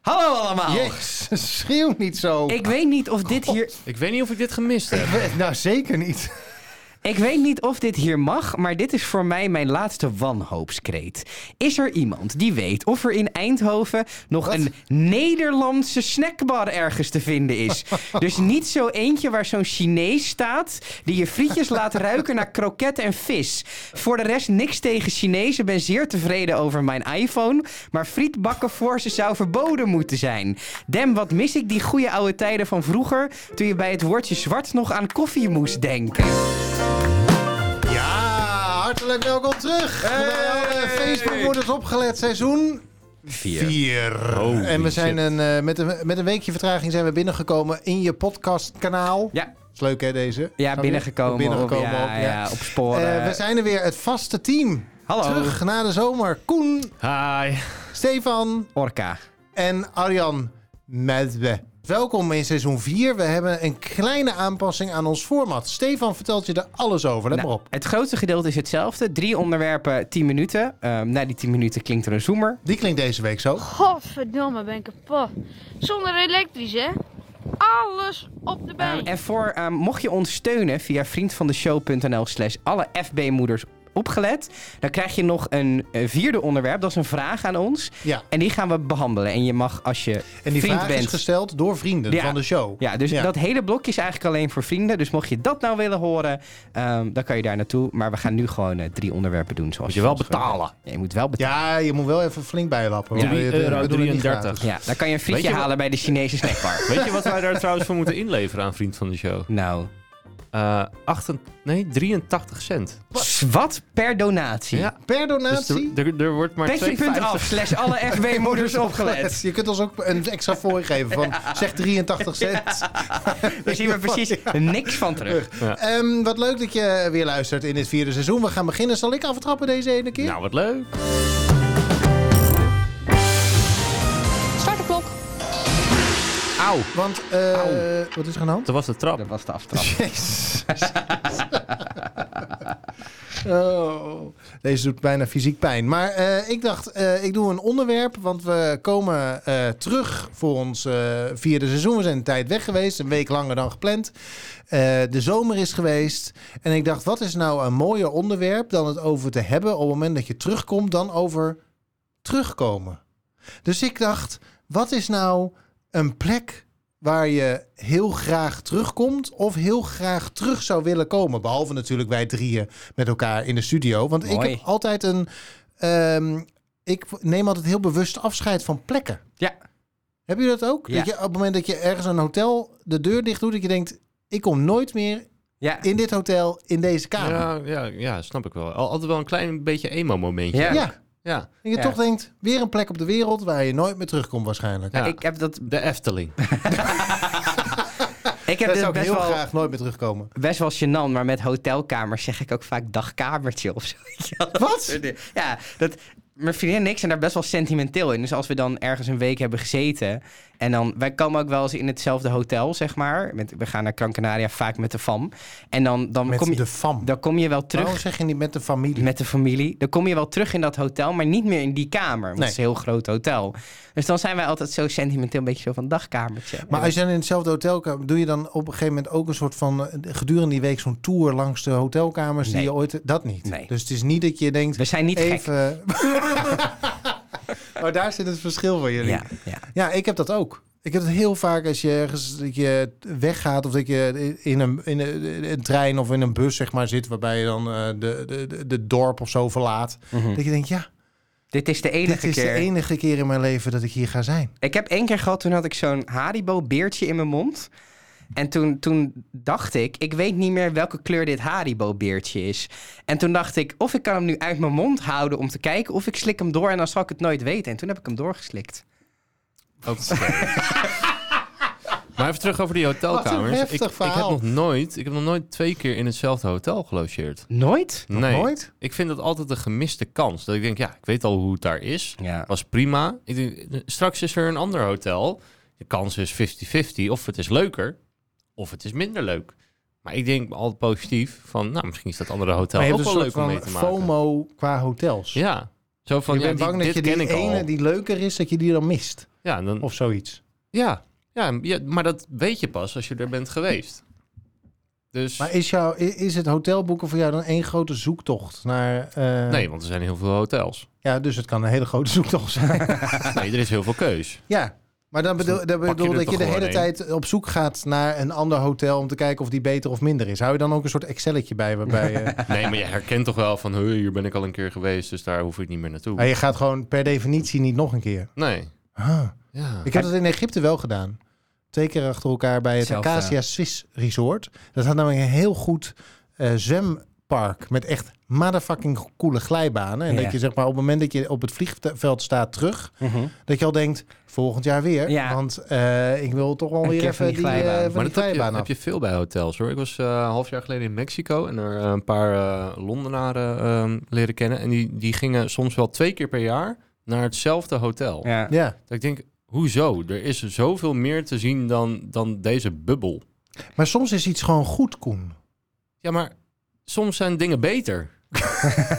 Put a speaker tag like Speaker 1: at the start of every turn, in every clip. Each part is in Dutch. Speaker 1: Hallo allemaal.
Speaker 2: Jezus, schreeuw niet zo.
Speaker 1: Ik weet niet of dit hier.
Speaker 3: Ik weet niet of ik dit gemist heb.
Speaker 2: Nou, zeker niet.
Speaker 1: Ik weet niet of dit hier mag, maar dit is voor mij mijn laatste wanhoopskreet. Is er iemand die weet of er in Eindhoven nog
Speaker 2: Wat?
Speaker 1: een Nederlandse snackbar ergens te vinden is? dus niet zo eentje waar zo'n Chinees staat die je frietjes laat ruiken naar kroket en vis. Voor de rest niks tegen Chinezen. Ben zeer tevreden over mijn iPhone, maar frietbakken voor ze zou verboden moeten zijn. Dem, wat mis ik die goede oude tijden van vroeger, toen je bij het woordje zwart nog aan koffie moest denken.
Speaker 2: Ja, hartelijk welkom terug. Bij alle Facebookmoeders opgelet seizoen
Speaker 1: Vier.
Speaker 2: 4.
Speaker 3: Holy
Speaker 2: en we zijn
Speaker 3: shit.
Speaker 2: een, eh, met, een, met een weekje vertraging zijn we binnengekomen in je podcastkanaal.
Speaker 1: Ja,
Speaker 2: Is leuk hè deze?
Speaker 1: ja
Speaker 2: Gaan
Speaker 1: binnengekomen.
Speaker 2: we- Binnengekomen
Speaker 1: op, ja,
Speaker 2: ook, ja.
Speaker 1: ja, op sporen.
Speaker 2: Eh, we zijn er weer, het vaste team.
Speaker 1: Hallo.
Speaker 2: Terug na de zomer. Koen,
Speaker 3: Hi.
Speaker 2: Stefan
Speaker 1: Orca.
Speaker 2: en Arjan Medwe. Welkom in seizoen 4. We hebben een kleine aanpassing aan ons format. Stefan vertelt je er alles over. Let
Speaker 1: Nou,
Speaker 2: maar op.
Speaker 1: het grootste gedeelte is hetzelfde. Drie onderwerpen, 10 minuten. Ehm, na die 10 minuten klinkt er een zoemer.
Speaker 2: Die klinkt deze week zo.
Speaker 4: Godverdomme, ben ik kapot. Zonder elektrisch, hè? Alles op de
Speaker 1: Ehm,
Speaker 4: been.
Speaker 1: en voor, ehm, mocht je ons steunen via vriendvandeshow.nl slash alle FB-moeders opgelet, dan krijg je nog een eh, vierde onderwerp. Dat is een vraag aan ons.
Speaker 2: Ja.
Speaker 1: En die gaan we behandelen. En je mag als je
Speaker 2: En die
Speaker 1: vriend
Speaker 2: vraag
Speaker 1: bent...
Speaker 2: is gesteld door vrienden
Speaker 1: Ja.
Speaker 2: van de show.
Speaker 1: Ja, dus dat hele blokje is eigenlijk alleen voor vrienden. Dus mocht je dat nou willen horen, ehm, dan kan je daar naartoe. Maar we gaan nu gewoon eh, drie onderwerpen doen. Zoals
Speaker 3: Moet je wel
Speaker 1: ons gewend
Speaker 3: betalen.
Speaker 1: bent. Ja, je moet wel betalen.
Speaker 2: Ja, je moet wel even flink bijlappen. want
Speaker 3: Ja.
Speaker 2: we- we- we
Speaker 3: €3,33.
Speaker 2: doen het niet gratis.
Speaker 1: Ja. dan kan je een frietje
Speaker 3: Weet je wat-
Speaker 1: halen bij de Chinese snackbar.
Speaker 3: Weet je wat wij daar trouwens voor moeten inleveren aan Vriend van de Show?
Speaker 1: nou,
Speaker 3: Eh 88, nee, 83 cent.
Speaker 1: s- wat per donatie?
Speaker 3: Ja.
Speaker 2: Per
Speaker 3: Dus
Speaker 2: donatie?
Speaker 3: er, er, er wordt maar
Speaker 1: Petje.af
Speaker 3: 2,50
Speaker 1: slash alle FB-moeders opgelet.
Speaker 2: Je kunt ons ook een extra fooi geven van zeg 83 cent.
Speaker 1: Daar zien we precies niks van terug.
Speaker 2: Ehm, wat leuk dat je weer luistert in dit vierde seizoen. We gaan beginnen. Zal ik aftrappen deze ene keer?
Speaker 3: Nou, wat leuk.
Speaker 5: Start de klok.
Speaker 3: Auw.
Speaker 2: Want, eh, wat is er aan de hand?
Speaker 3: Dat was de trap.
Speaker 1: Dat was de aftrap.
Speaker 2: Jezus. oh, deze doet bijna fysiek pijn. Maar eh, ik dacht, eh, ik doe een onderwerp. Want we komen eh, terug voor ons eh, vierde seizoen. We zijn een tijd weg geweest. Een week langer dan gepland. Eh, de zomer is geweest. En ik dacht, wat is nou een mooier onderwerp dan het over te hebben op het moment dat je terugkomt, dan over terugkomen. Dus ik dacht, wat is nou een plek waar je heel graag terugkomt of heel graag terug zou willen komen? Behalve natuurlijk wij drieën met elkaar in de studio. Want ik
Speaker 1: Mooi.
Speaker 2: heb altijd een. ehm, ik neem altijd heel bewust afscheid van plekken.
Speaker 1: Ja.
Speaker 2: Heb je dat ook?
Speaker 1: Ja.
Speaker 2: Dat je op het moment dat je ergens een hotel de deur dicht doet, dat je denkt: ik kom nooit meer
Speaker 1: Ja.
Speaker 2: in dit hotel, in deze kamer. Ja.
Speaker 3: Ja, ja, ja, snap ik wel. Al- Altijd wel een klein beetje emo-momentje.
Speaker 1: Ja.
Speaker 3: Ja.
Speaker 2: En je
Speaker 1: Ja.
Speaker 2: toch denkt, weer een plek op de wereld waar je nooit meer terugkomt waarschijnlijk.
Speaker 3: Ja.
Speaker 1: Ik heb dat...
Speaker 3: De Efteling.
Speaker 1: Ik heb
Speaker 2: Daar
Speaker 1: dit
Speaker 2: zou ik
Speaker 1: best
Speaker 2: heel
Speaker 1: wel...
Speaker 2: graag nooit meer terugkomen.
Speaker 1: best wel gênant, maar met hotelkamers zeg ik ook vaak dagkamertje of zo. Weet je wel, dat
Speaker 2: Wat?
Speaker 1: soort dingen. Ja, dat, mijn vriendin en ik zijn daar best wel sentimenteel in. Dus als we dan ergens een week hebben gezeten... en dan, wij komen ook wel eens in hetzelfde hotel, zeg maar. Met, we gaan naar Gran Canaria vaak met de fam. En dan, dan,
Speaker 2: Met
Speaker 1: kom, je,
Speaker 2: de Oh. fam.
Speaker 1: dan kom je wel terug
Speaker 2: Waarom zeg je niet met de familie?
Speaker 1: met de familie. Dan kom je wel terug in dat hotel, maar niet meer in die kamer. Want
Speaker 2: Nee.
Speaker 1: het is een heel groot hotel. Dus dan zijn wij altijd zo sentimenteel, een beetje zo van dagkamertje.
Speaker 2: Maar als je dan in hetzelfde hotelkamer, doe je dan op een gegeven moment ook een soort van eh, gedurende die week zo'n tour langs de hotelkamers
Speaker 1: Nee.
Speaker 2: die je ooit. Dat niet.
Speaker 1: Nee.
Speaker 2: Dus het is niet dat je denkt.
Speaker 1: We zijn niet gek.
Speaker 2: even. oh, daar zit het verschil van jullie.
Speaker 1: Ja,
Speaker 2: Ja.
Speaker 1: ja.
Speaker 2: ik heb dat ook. Ik heb het heel vaak als je ergens dat je weggaat of dat je in een, in een, een trein of in een bus zeg maar zit, waarbij je dan eh, de, de, de, de dorp of zo verlaat.
Speaker 3: Mhm.
Speaker 2: Dat je denkt, ja,
Speaker 1: Dit is de enige
Speaker 2: dit is
Speaker 1: keer.
Speaker 2: de enige keer in mijn leven dat ik hier ga zijn.
Speaker 1: Ik heb één keer gehad, toen had ik zo'n Haribo-beertje in mijn mond. En toen, toen dacht ik, ik weet niet meer welke kleur dit Haribo-beertje is. En toen dacht ik, of ik kan hem nu uit mijn mond houden om te kijken... of ik slik hem door en dan zal ik het nooit weten. En toen heb ik hem doorgeslikt.
Speaker 3: Maar even terug over die hotelkamers.
Speaker 2: Wat een heftig
Speaker 3: ik, ik heb
Speaker 2: verhaal.
Speaker 3: nog nooit, ik heb nog nooit twee keer in hetzelfde hotel gelogeerd.
Speaker 1: Nooit?
Speaker 3: nee.
Speaker 2: nooit?
Speaker 3: Ik vind dat altijd een gemiste kans. Dat ik denk, ja, ik weet al hoe het daar is.
Speaker 1: Ja.
Speaker 3: Was prima. Ik denk, straks is er een ander hotel. De kans is 50-50. Of het is leuker, of het is minder leuk. Maar ik denk altijd positief van, nou, misschien is dat andere hotel
Speaker 2: Maar je
Speaker 3: ook
Speaker 2: hebt
Speaker 3: wel
Speaker 2: een
Speaker 3: leuk
Speaker 2: soort
Speaker 3: om mee
Speaker 2: van
Speaker 3: te maken.
Speaker 2: FOMO qua hotels.
Speaker 3: Ja, Zo van,
Speaker 2: je
Speaker 3: ja,
Speaker 2: bent
Speaker 3: die,
Speaker 2: bang dat
Speaker 3: dit
Speaker 2: je
Speaker 3: ken
Speaker 2: die
Speaker 3: ik al.
Speaker 2: ene die leuker is, dat je die dan mist.
Speaker 3: Ja, en dan,
Speaker 2: Of zoiets.
Speaker 3: ja, ja, ja, maar dat weet je pas als je er bent geweest. Dus
Speaker 2: Maar is, jou, i- is het hotelboeken voor jou dan één grote zoektocht naar... eh,
Speaker 3: nee, want er zijn heel veel hotels.
Speaker 2: Ja, dus het kan een hele grote zoektocht zijn.
Speaker 3: Nee, er is heel veel keus.
Speaker 2: ja, maar dan
Speaker 3: Dus
Speaker 2: bedoel,
Speaker 3: dan
Speaker 2: dan
Speaker 3: pak je
Speaker 2: bedoel
Speaker 3: er
Speaker 2: dat
Speaker 3: toch
Speaker 2: je de
Speaker 3: gewoon
Speaker 2: hele
Speaker 3: één.
Speaker 2: tijd op zoek gaat naar een ander hotel... om te kijken of die beter of minder is. Hou je dan ook een soort Excelletje bij waarbij... je-
Speaker 3: Nee, maar je herkent toch wel van, "Huh, hier ben ik al een keer geweest, dus daar hoef ik niet meer
Speaker 2: Ja,
Speaker 3: naartoe.
Speaker 2: je gaat gewoon per definitie niet nog een keer.
Speaker 3: Nee,
Speaker 2: Ah.
Speaker 3: ja.
Speaker 2: Ik heb dat in Egypte wel gedaan. Twee keer achter elkaar bij het
Speaker 1: Zelf,
Speaker 2: Acacia Swiss Resort. Dat had namelijk een heel goed eh, zwempark met echt motherfucking coole glijbanen. En
Speaker 1: Ja.
Speaker 2: dat je zeg maar op het moment dat je op het vliegveld staat terug,
Speaker 1: Mhm.
Speaker 2: dat je al denkt volgend jaar weer.
Speaker 1: Ja.
Speaker 2: Want eh, ik wil toch wel
Speaker 1: Een
Speaker 2: weer
Speaker 1: keer van
Speaker 2: even
Speaker 1: die
Speaker 2: die, eh,
Speaker 1: glijbaan.
Speaker 2: van
Speaker 3: Maar
Speaker 2: die
Speaker 3: dat heb je,
Speaker 2: glijbaan
Speaker 3: heb
Speaker 2: af.
Speaker 3: je veel bij hotels hoor. Ik was eh, een half jaar geleden in Mexico en er eh, een paar eh, Londenaren ehm, leren kennen. En die, die gingen soms wel twee keer per jaar naar hetzelfde hotel.
Speaker 1: Ja.
Speaker 2: Ja,
Speaker 3: Dat ik denk, hoezo? Er is zoveel meer te zien dan, dan deze bubbel.
Speaker 2: maar soms is iets gewoon goed, Koen.
Speaker 3: Ja, maar soms zijn dingen beter.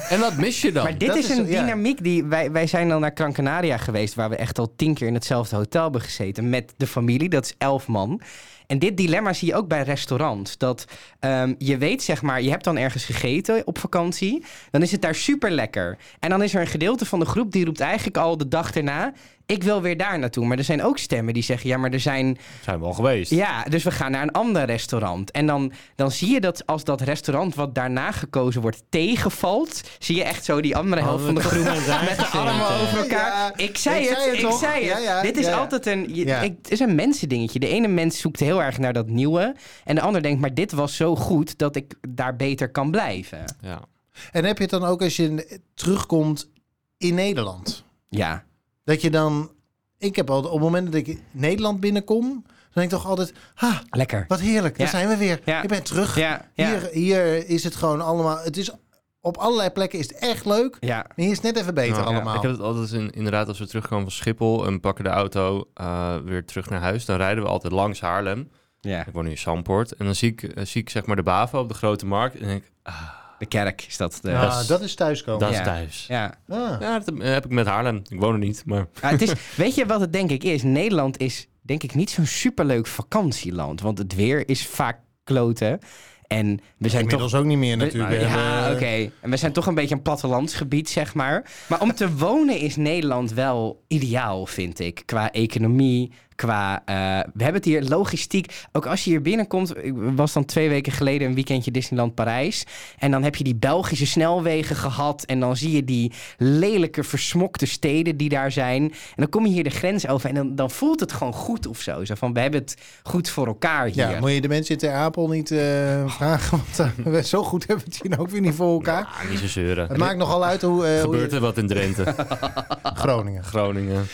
Speaker 3: en dat mis je dan.
Speaker 1: Maar dit
Speaker 2: dat
Speaker 1: is
Speaker 2: is-
Speaker 1: een
Speaker 2: ja.
Speaker 1: dynamiek die... Wij, wij zijn dan naar Gran Canaria geweest... waar we echt al tien keer in hetzelfde hotel hebben gezeten... met de familie, dat is elf man. En dit dilemma zie je ook bij restaurants. Dat ehm, je weet, zeg maar, je hebt dan ergens gegeten op vakantie... dan is het daar super lekker. En dan is er een gedeelte van de groep die roept eigenlijk al de dag erna... ik wil weer daar naartoe. Maar er zijn ook stemmen die zeggen... ja, maar er zijn
Speaker 3: Zijn we al geweest.
Speaker 1: Ja, dus we gaan naar een ander restaurant. En dan, dan zie je dat als dat restaurant wat daarna gekozen wordt tegenvalt, zie je echt zo die andere helft van de groep met de armen over elkaar.
Speaker 2: Oh, Ja,
Speaker 1: ik zei
Speaker 2: ik
Speaker 1: het,
Speaker 2: zei het
Speaker 1: ik
Speaker 2: toch?
Speaker 1: zei het.
Speaker 2: Ja, ja,
Speaker 1: Dit is
Speaker 2: ja, ja.
Speaker 1: altijd een, je-
Speaker 2: Ja.
Speaker 1: ik, het is een mensen dingetje. De ene mens zoekt heel erg naar dat nieuwe en de ander denkt, maar dit was zo goed dat ik daar beter kan blijven.
Speaker 3: Ja.
Speaker 2: En heb je het dan ook als je terugkomt in Nederland?
Speaker 1: Ja.
Speaker 2: Dat je dan... Ik heb altijd, op het moment dat ik Nederland binnenkom... dan denk ik toch altijd... Ha,
Speaker 1: Lekker.
Speaker 2: wat heerlijk, daar
Speaker 1: Ja.
Speaker 2: zijn we weer.
Speaker 1: Ja.
Speaker 2: Ik ben terug.
Speaker 1: Ja, ja,
Speaker 2: Hier, hier is het gewoon allemaal... Het is, op allerlei plekken is het echt leuk.
Speaker 1: ja.
Speaker 2: Maar hier is het net even beter
Speaker 3: Ja,
Speaker 2: allemaal.
Speaker 3: Ik heb het altijd in, inderdaad als we terugkomen van Schiphol en pakken de auto eh, weer terug naar huis. Dan rijden we altijd langs Haarlem.
Speaker 1: ja.
Speaker 3: Ik woon nu in Zandpoort. En dan zie ik, eh, zie ik zeg maar de BAVO op de Grote Markt. En denk ik,
Speaker 1: De kerk is dat. De,
Speaker 2: Ja,
Speaker 3: dat is-
Speaker 2: dat is thuiskomen.
Speaker 3: dat is
Speaker 1: Ja.
Speaker 3: thuis.
Speaker 1: ja.
Speaker 2: Ah.
Speaker 3: Ja, dat heb- eh, heb ik met Haarlem. Ik woon er niet, maar...
Speaker 1: Ja, het is, weet je wat het denk ik is? Nederland is denk ik niet zo'n superleuk vakantieland. Want het weer is vaak kloten. En we zijn toch...
Speaker 2: Inmiddels ook niet meer
Speaker 1: we-
Speaker 2: natuurlijk. eh, We
Speaker 1: ja,
Speaker 2: hebben-
Speaker 1: oké. En we zijn toch een beetje een plattelandsgebied, zeg maar. Maar om te wonen is Nederland wel ideaal, vind ik. Qua economie, qua... eh, we hebben het hier logistiek. Ook als je hier binnenkomt... Ik was dan twee weken geleden een weekendje Disneyland Parijs. En dan heb je die Belgische snelwegen gehad. En dan zie je die lelijke, versmokte steden die daar zijn. En dan kom je hier de grens over. En dan, dan voelt het gewoon goed of zo. Zo van, we hebben het goed voor elkaar hier.
Speaker 2: Ja, moet je de mensen in Ter Apel niet
Speaker 3: Oh.
Speaker 2: eh, vragen? Want eh, we zo goed hebben we het hier nou ook weer niet voor elkaar.
Speaker 3: Ah, niet zo zeuren.
Speaker 2: het maakt nogal uit hoe... eh, hoe
Speaker 3: Gebeurt er wat in Drenthe,
Speaker 2: je- Groningen.
Speaker 3: Groningen.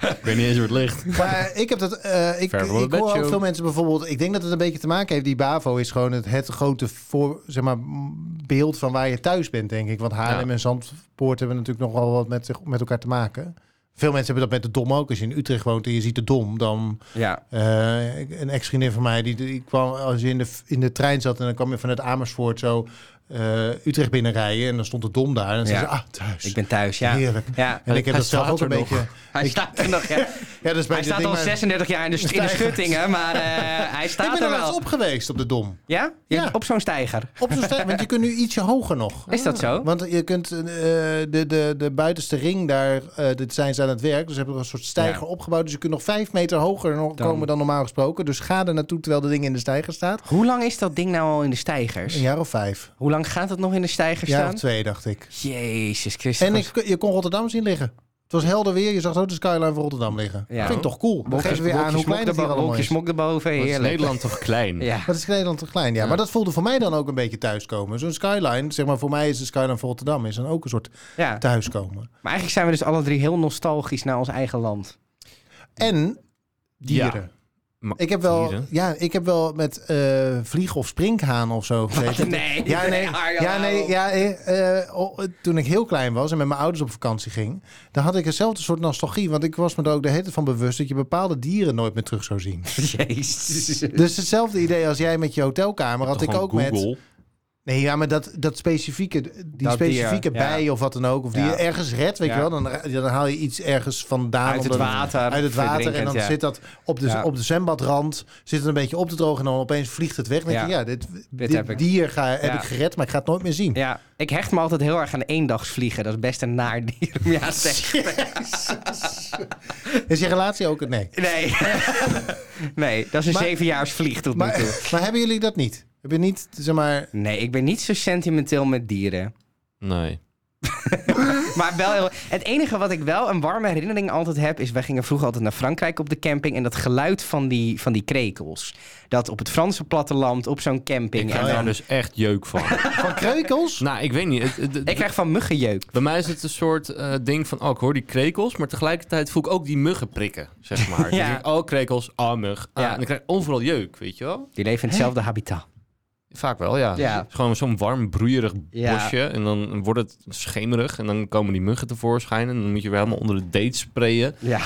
Speaker 3: ik weet niet eens hoe het ligt.
Speaker 2: Maar ik heb dat. eh, ik
Speaker 3: Ver
Speaker 2: ik
Speaker 3: van mijn
Speaker 2: hoor
Speaker 3: bedshow.
Speaker 2: ook veel mensen bijvoorbeeld. Ik denk dat het een beetje te maken heeft. Die Bavo is gewoon het, het grote voor, zeg maar, m, beeld van waar je thuis bent, denk ik. Want Haarlem
Speaker 3: Ja.
Speaker 2: en Zandpoort hebben natuurlijk nogal wat met, zich- met elkaar te maken. Veel mensen hebben dat met de dom ook. Als je in Utrecht woont en je ziet de dom, dan
Speaker 1: ja.
Speaker 2: eh, een ex-vriendin van mij die, die kwam als je in de, in de trein zat en dan kwam je vanuit Amersfoort zo eh, Utrecht binnenrijden en dan stond de dom daar en dan
Speaker 1: Ja.
Speaker 2: zei ze ah thuis.
Speaker 1: Ik ben thuis, ja.
Speaker 2: Heerlijk.
Speaker 1: Ja.
Speaker 2: En ik heb
Speaker 3: Hij
Speaker 2: dat zelf
Speaker 3: staat
Speaker 2: ook een
Speaker 3: er nog.
Speaker 2: beetje.
Speaker 1: Hij
Speaker 2: Ik-
Speaker 1: staat er nog, ja.
Speaker 2: Ja, dat is bij
Speaker 1: Hij
Speaker 2: dit
Speaker 1: staat
Speaker 2: ding,
Speaker 1: al
Speaker 2: maar-
Speaker 1: 36 jaar in de, in de
Speaker 2: Stijger.
Speaker 1: schuttingen, maar eh, hij
Speaker 2: ik
Speaker 1: staat
Speaker 2: ben
Speaker 1: er
Speaker 2: er wel eens
Speaker 1: wel.
Speaker 2: op geweest op de dom.
Speaker 1: Ja? Je-
Speaker 2: Ja.
Speaker 1: Op zo'n stijger.
Speaker 2: Op zo'n stijl, want je kunt nu ietsje hoger nog.
Speaker 1: Is dat zo?
Speaker 2: Want je kunt eh, de, de, de buitenste ring daar, eh, dit zijn ze aan het werk. Dus hebben we een soort stijger
Speaker 1: Ja.
Speaker 2: opgebouwd. Dus je kunt nog vijf meter hoger nog
Speaker 1: Dan-
Speaker 2: komen dan normaal gesproken. Dus ga er naartoe terwijl de ding in de stijger staat.
Speaker 1: Hoe lang is dat ding nou al in de stijgers?
Speaker 2: Een jaar of vijf.
Speaker 1: Hoe lang gaat het nog in de stijgers
Speaker 2: Een jaar
Speaker 1: staan?
Speaker 2: of twee, dacht ik.
Speaker 1: Jezus Christus.
Speaker 2: En ik, je kon Rotterdam zien liggen. Het was helder weer. Je zag zo de skyline van Rotterdam liggen.
Speaker 1: Ja.
Speaker 2: Dat vind ik toch cool. Dan geef je weer aan hoe klein het hier allemaal
Speaker 1: Wolkjes
Speaker 2: is.
Speaker 1: smok erboven,
Speaker 3: Wat is
Speaker 1: heerlijk.
Speaker 3: Nederland toch klein?
Speaker 1: Ja.
Speaker 2: Maar het is Nederland te klein, ja.
Speaker 3: Ja.
Speaker 2: Maar dat voelde voor mij dan ook een beetje thuiskomen. Zo'n skyline, zeg maar voor mij is de skyline van Rotterdam... is dan ook een soort
Speaker 1: ja,
Speaker 2: thuiskomen.
Speaker 1: maar eigenlijk zijn we dus alle drie heel nostalgisch naar ons eigen land.
Speaker 2: En dieren.
Speaker 3: Ja. Maar
Speaker 2: Ik heb wel,
Speaker 3: dieren?
Speaker 2: ja, ik heb wel met eh vlieg of sprinkhaan of zo gezeten.
Speaker 1: Nee.
Speaker 2: Ja, nee,
Speaker 1: Arjan,
Speaker 2: ja, nee, ja eh, eh, oh, eh, toen ik heel klein was en met mijn ouders op vakantie ging, dan had ik eenzelfde soort nostalgie. Want ik was me er ook de hele tijd van bewust dat je bepaalde dieren nooit meer terug zou zien.
Speaker 1: Jezus.
Speaker 2: Dus hetzelfde idee als jij met je hotelkamer had
Speaker 3: Toch
Speaker 2: ik ook
Speaker 3: gewoon
Speaker 2: met.
Speaker 3: Google.
Speaker 2: Nee, ja, maar dat, dat specifieke, die
Speaker 1: Dat
Speaker 2: specifieke
Speaker 1: dier, ja.
Speaker 2: bij of wat dan ook, of die
Speaker 1: Ja.
Speaker 2: je ergens redt, weet
Speaker 1: Ja.
Speaker 2: je wel, dan, dan haal je iets ergens vandaan.
Speaker 1: Uit het
Speaker 2: omdat
Speaker 1: water,
Speaker 2: Uit het water. En
Speaker 1: verdrinkend,
Speaker 2: dan
Speaker 1: ja.
Speaker 2: zit dat op de,
Speaker 1: Ja.
Speaker 2: op de zwembadrand, zit het een beetje op te drogen en dan opeens vliegt het weg. Dan denk
Speaker 1: Ja.
Speaker 2: je, ja, dit, dit,
Speaker 1: heb ik.
Speaker 2: dier ga, heb
Speaker 1: Ja.
Speaker 2: ik gered, maar ik ga het nooit meer zien.
Speaker 1: Ja, ik hecht me altijd heel erg aan eendagsvliegen. Dat is best een naar dier om ja te zeggen.
Speaker 2: Is je relatie ook? Nee.
Speaker 1: Nee. nee, dat is een
Speaker 2: Maar-
Speaker 1: zevenjaars vlieg tot nu toe.
Speaker 2: Maar, maar hebben jullie dat niet? Heb je niet, zeg maar...
Speaker 1: Nee, ik ben niet zo sentimenteel met dieren.
Speaker 3: Nee.
Speaker 1: Maar wel heel- Het enige wat ik wel een warme herinnering altijd heb... is wij gingen vroeger altijd naar Frankrijk op de camping... en dat geluid van die, van die krekels. Dat op het Franse platteland, op zo'n camping.
Speaker 3: Ik krijg
Speaker 1: en
Speaker 3: daar
Speaker 1: dan,
Speaker 3: dus echt jeuk van.
Speaker 2: Van kreukels?
Speaker 3: nou, ik weet niet. Het- het- het-
Speaker 1: ik krijg van muggenjeuk.
Speaker 3: Bij mij is het een soort eh, ding van, oh, ik hoor die krekels, maar tegelijkertijd voel ik ook die muggen prikken, zeg maar. Dus
Speaker 1: Ja.
Speaker 3: ik, oh, krekels, oh, mug. Ah,
Speaker 1: Ja.
Speaker 3: En dan krijg ik overal jeuk, weet je wel?
Speaker 1: Die leven in hetzelfde habitat.
Speaker 3: Vaak wel, ja.
Speaker 1: Ja.
Speaker 3: Het is gewoon zo'n warm, broeierig
Speaker 1: Ja.
Speaker 3: bosje en dan wordt het schemerig en dan komen die muggen tevoorschijn en dan moet je weer helemaal onder de date sprayen.
Speaker 1: Ja,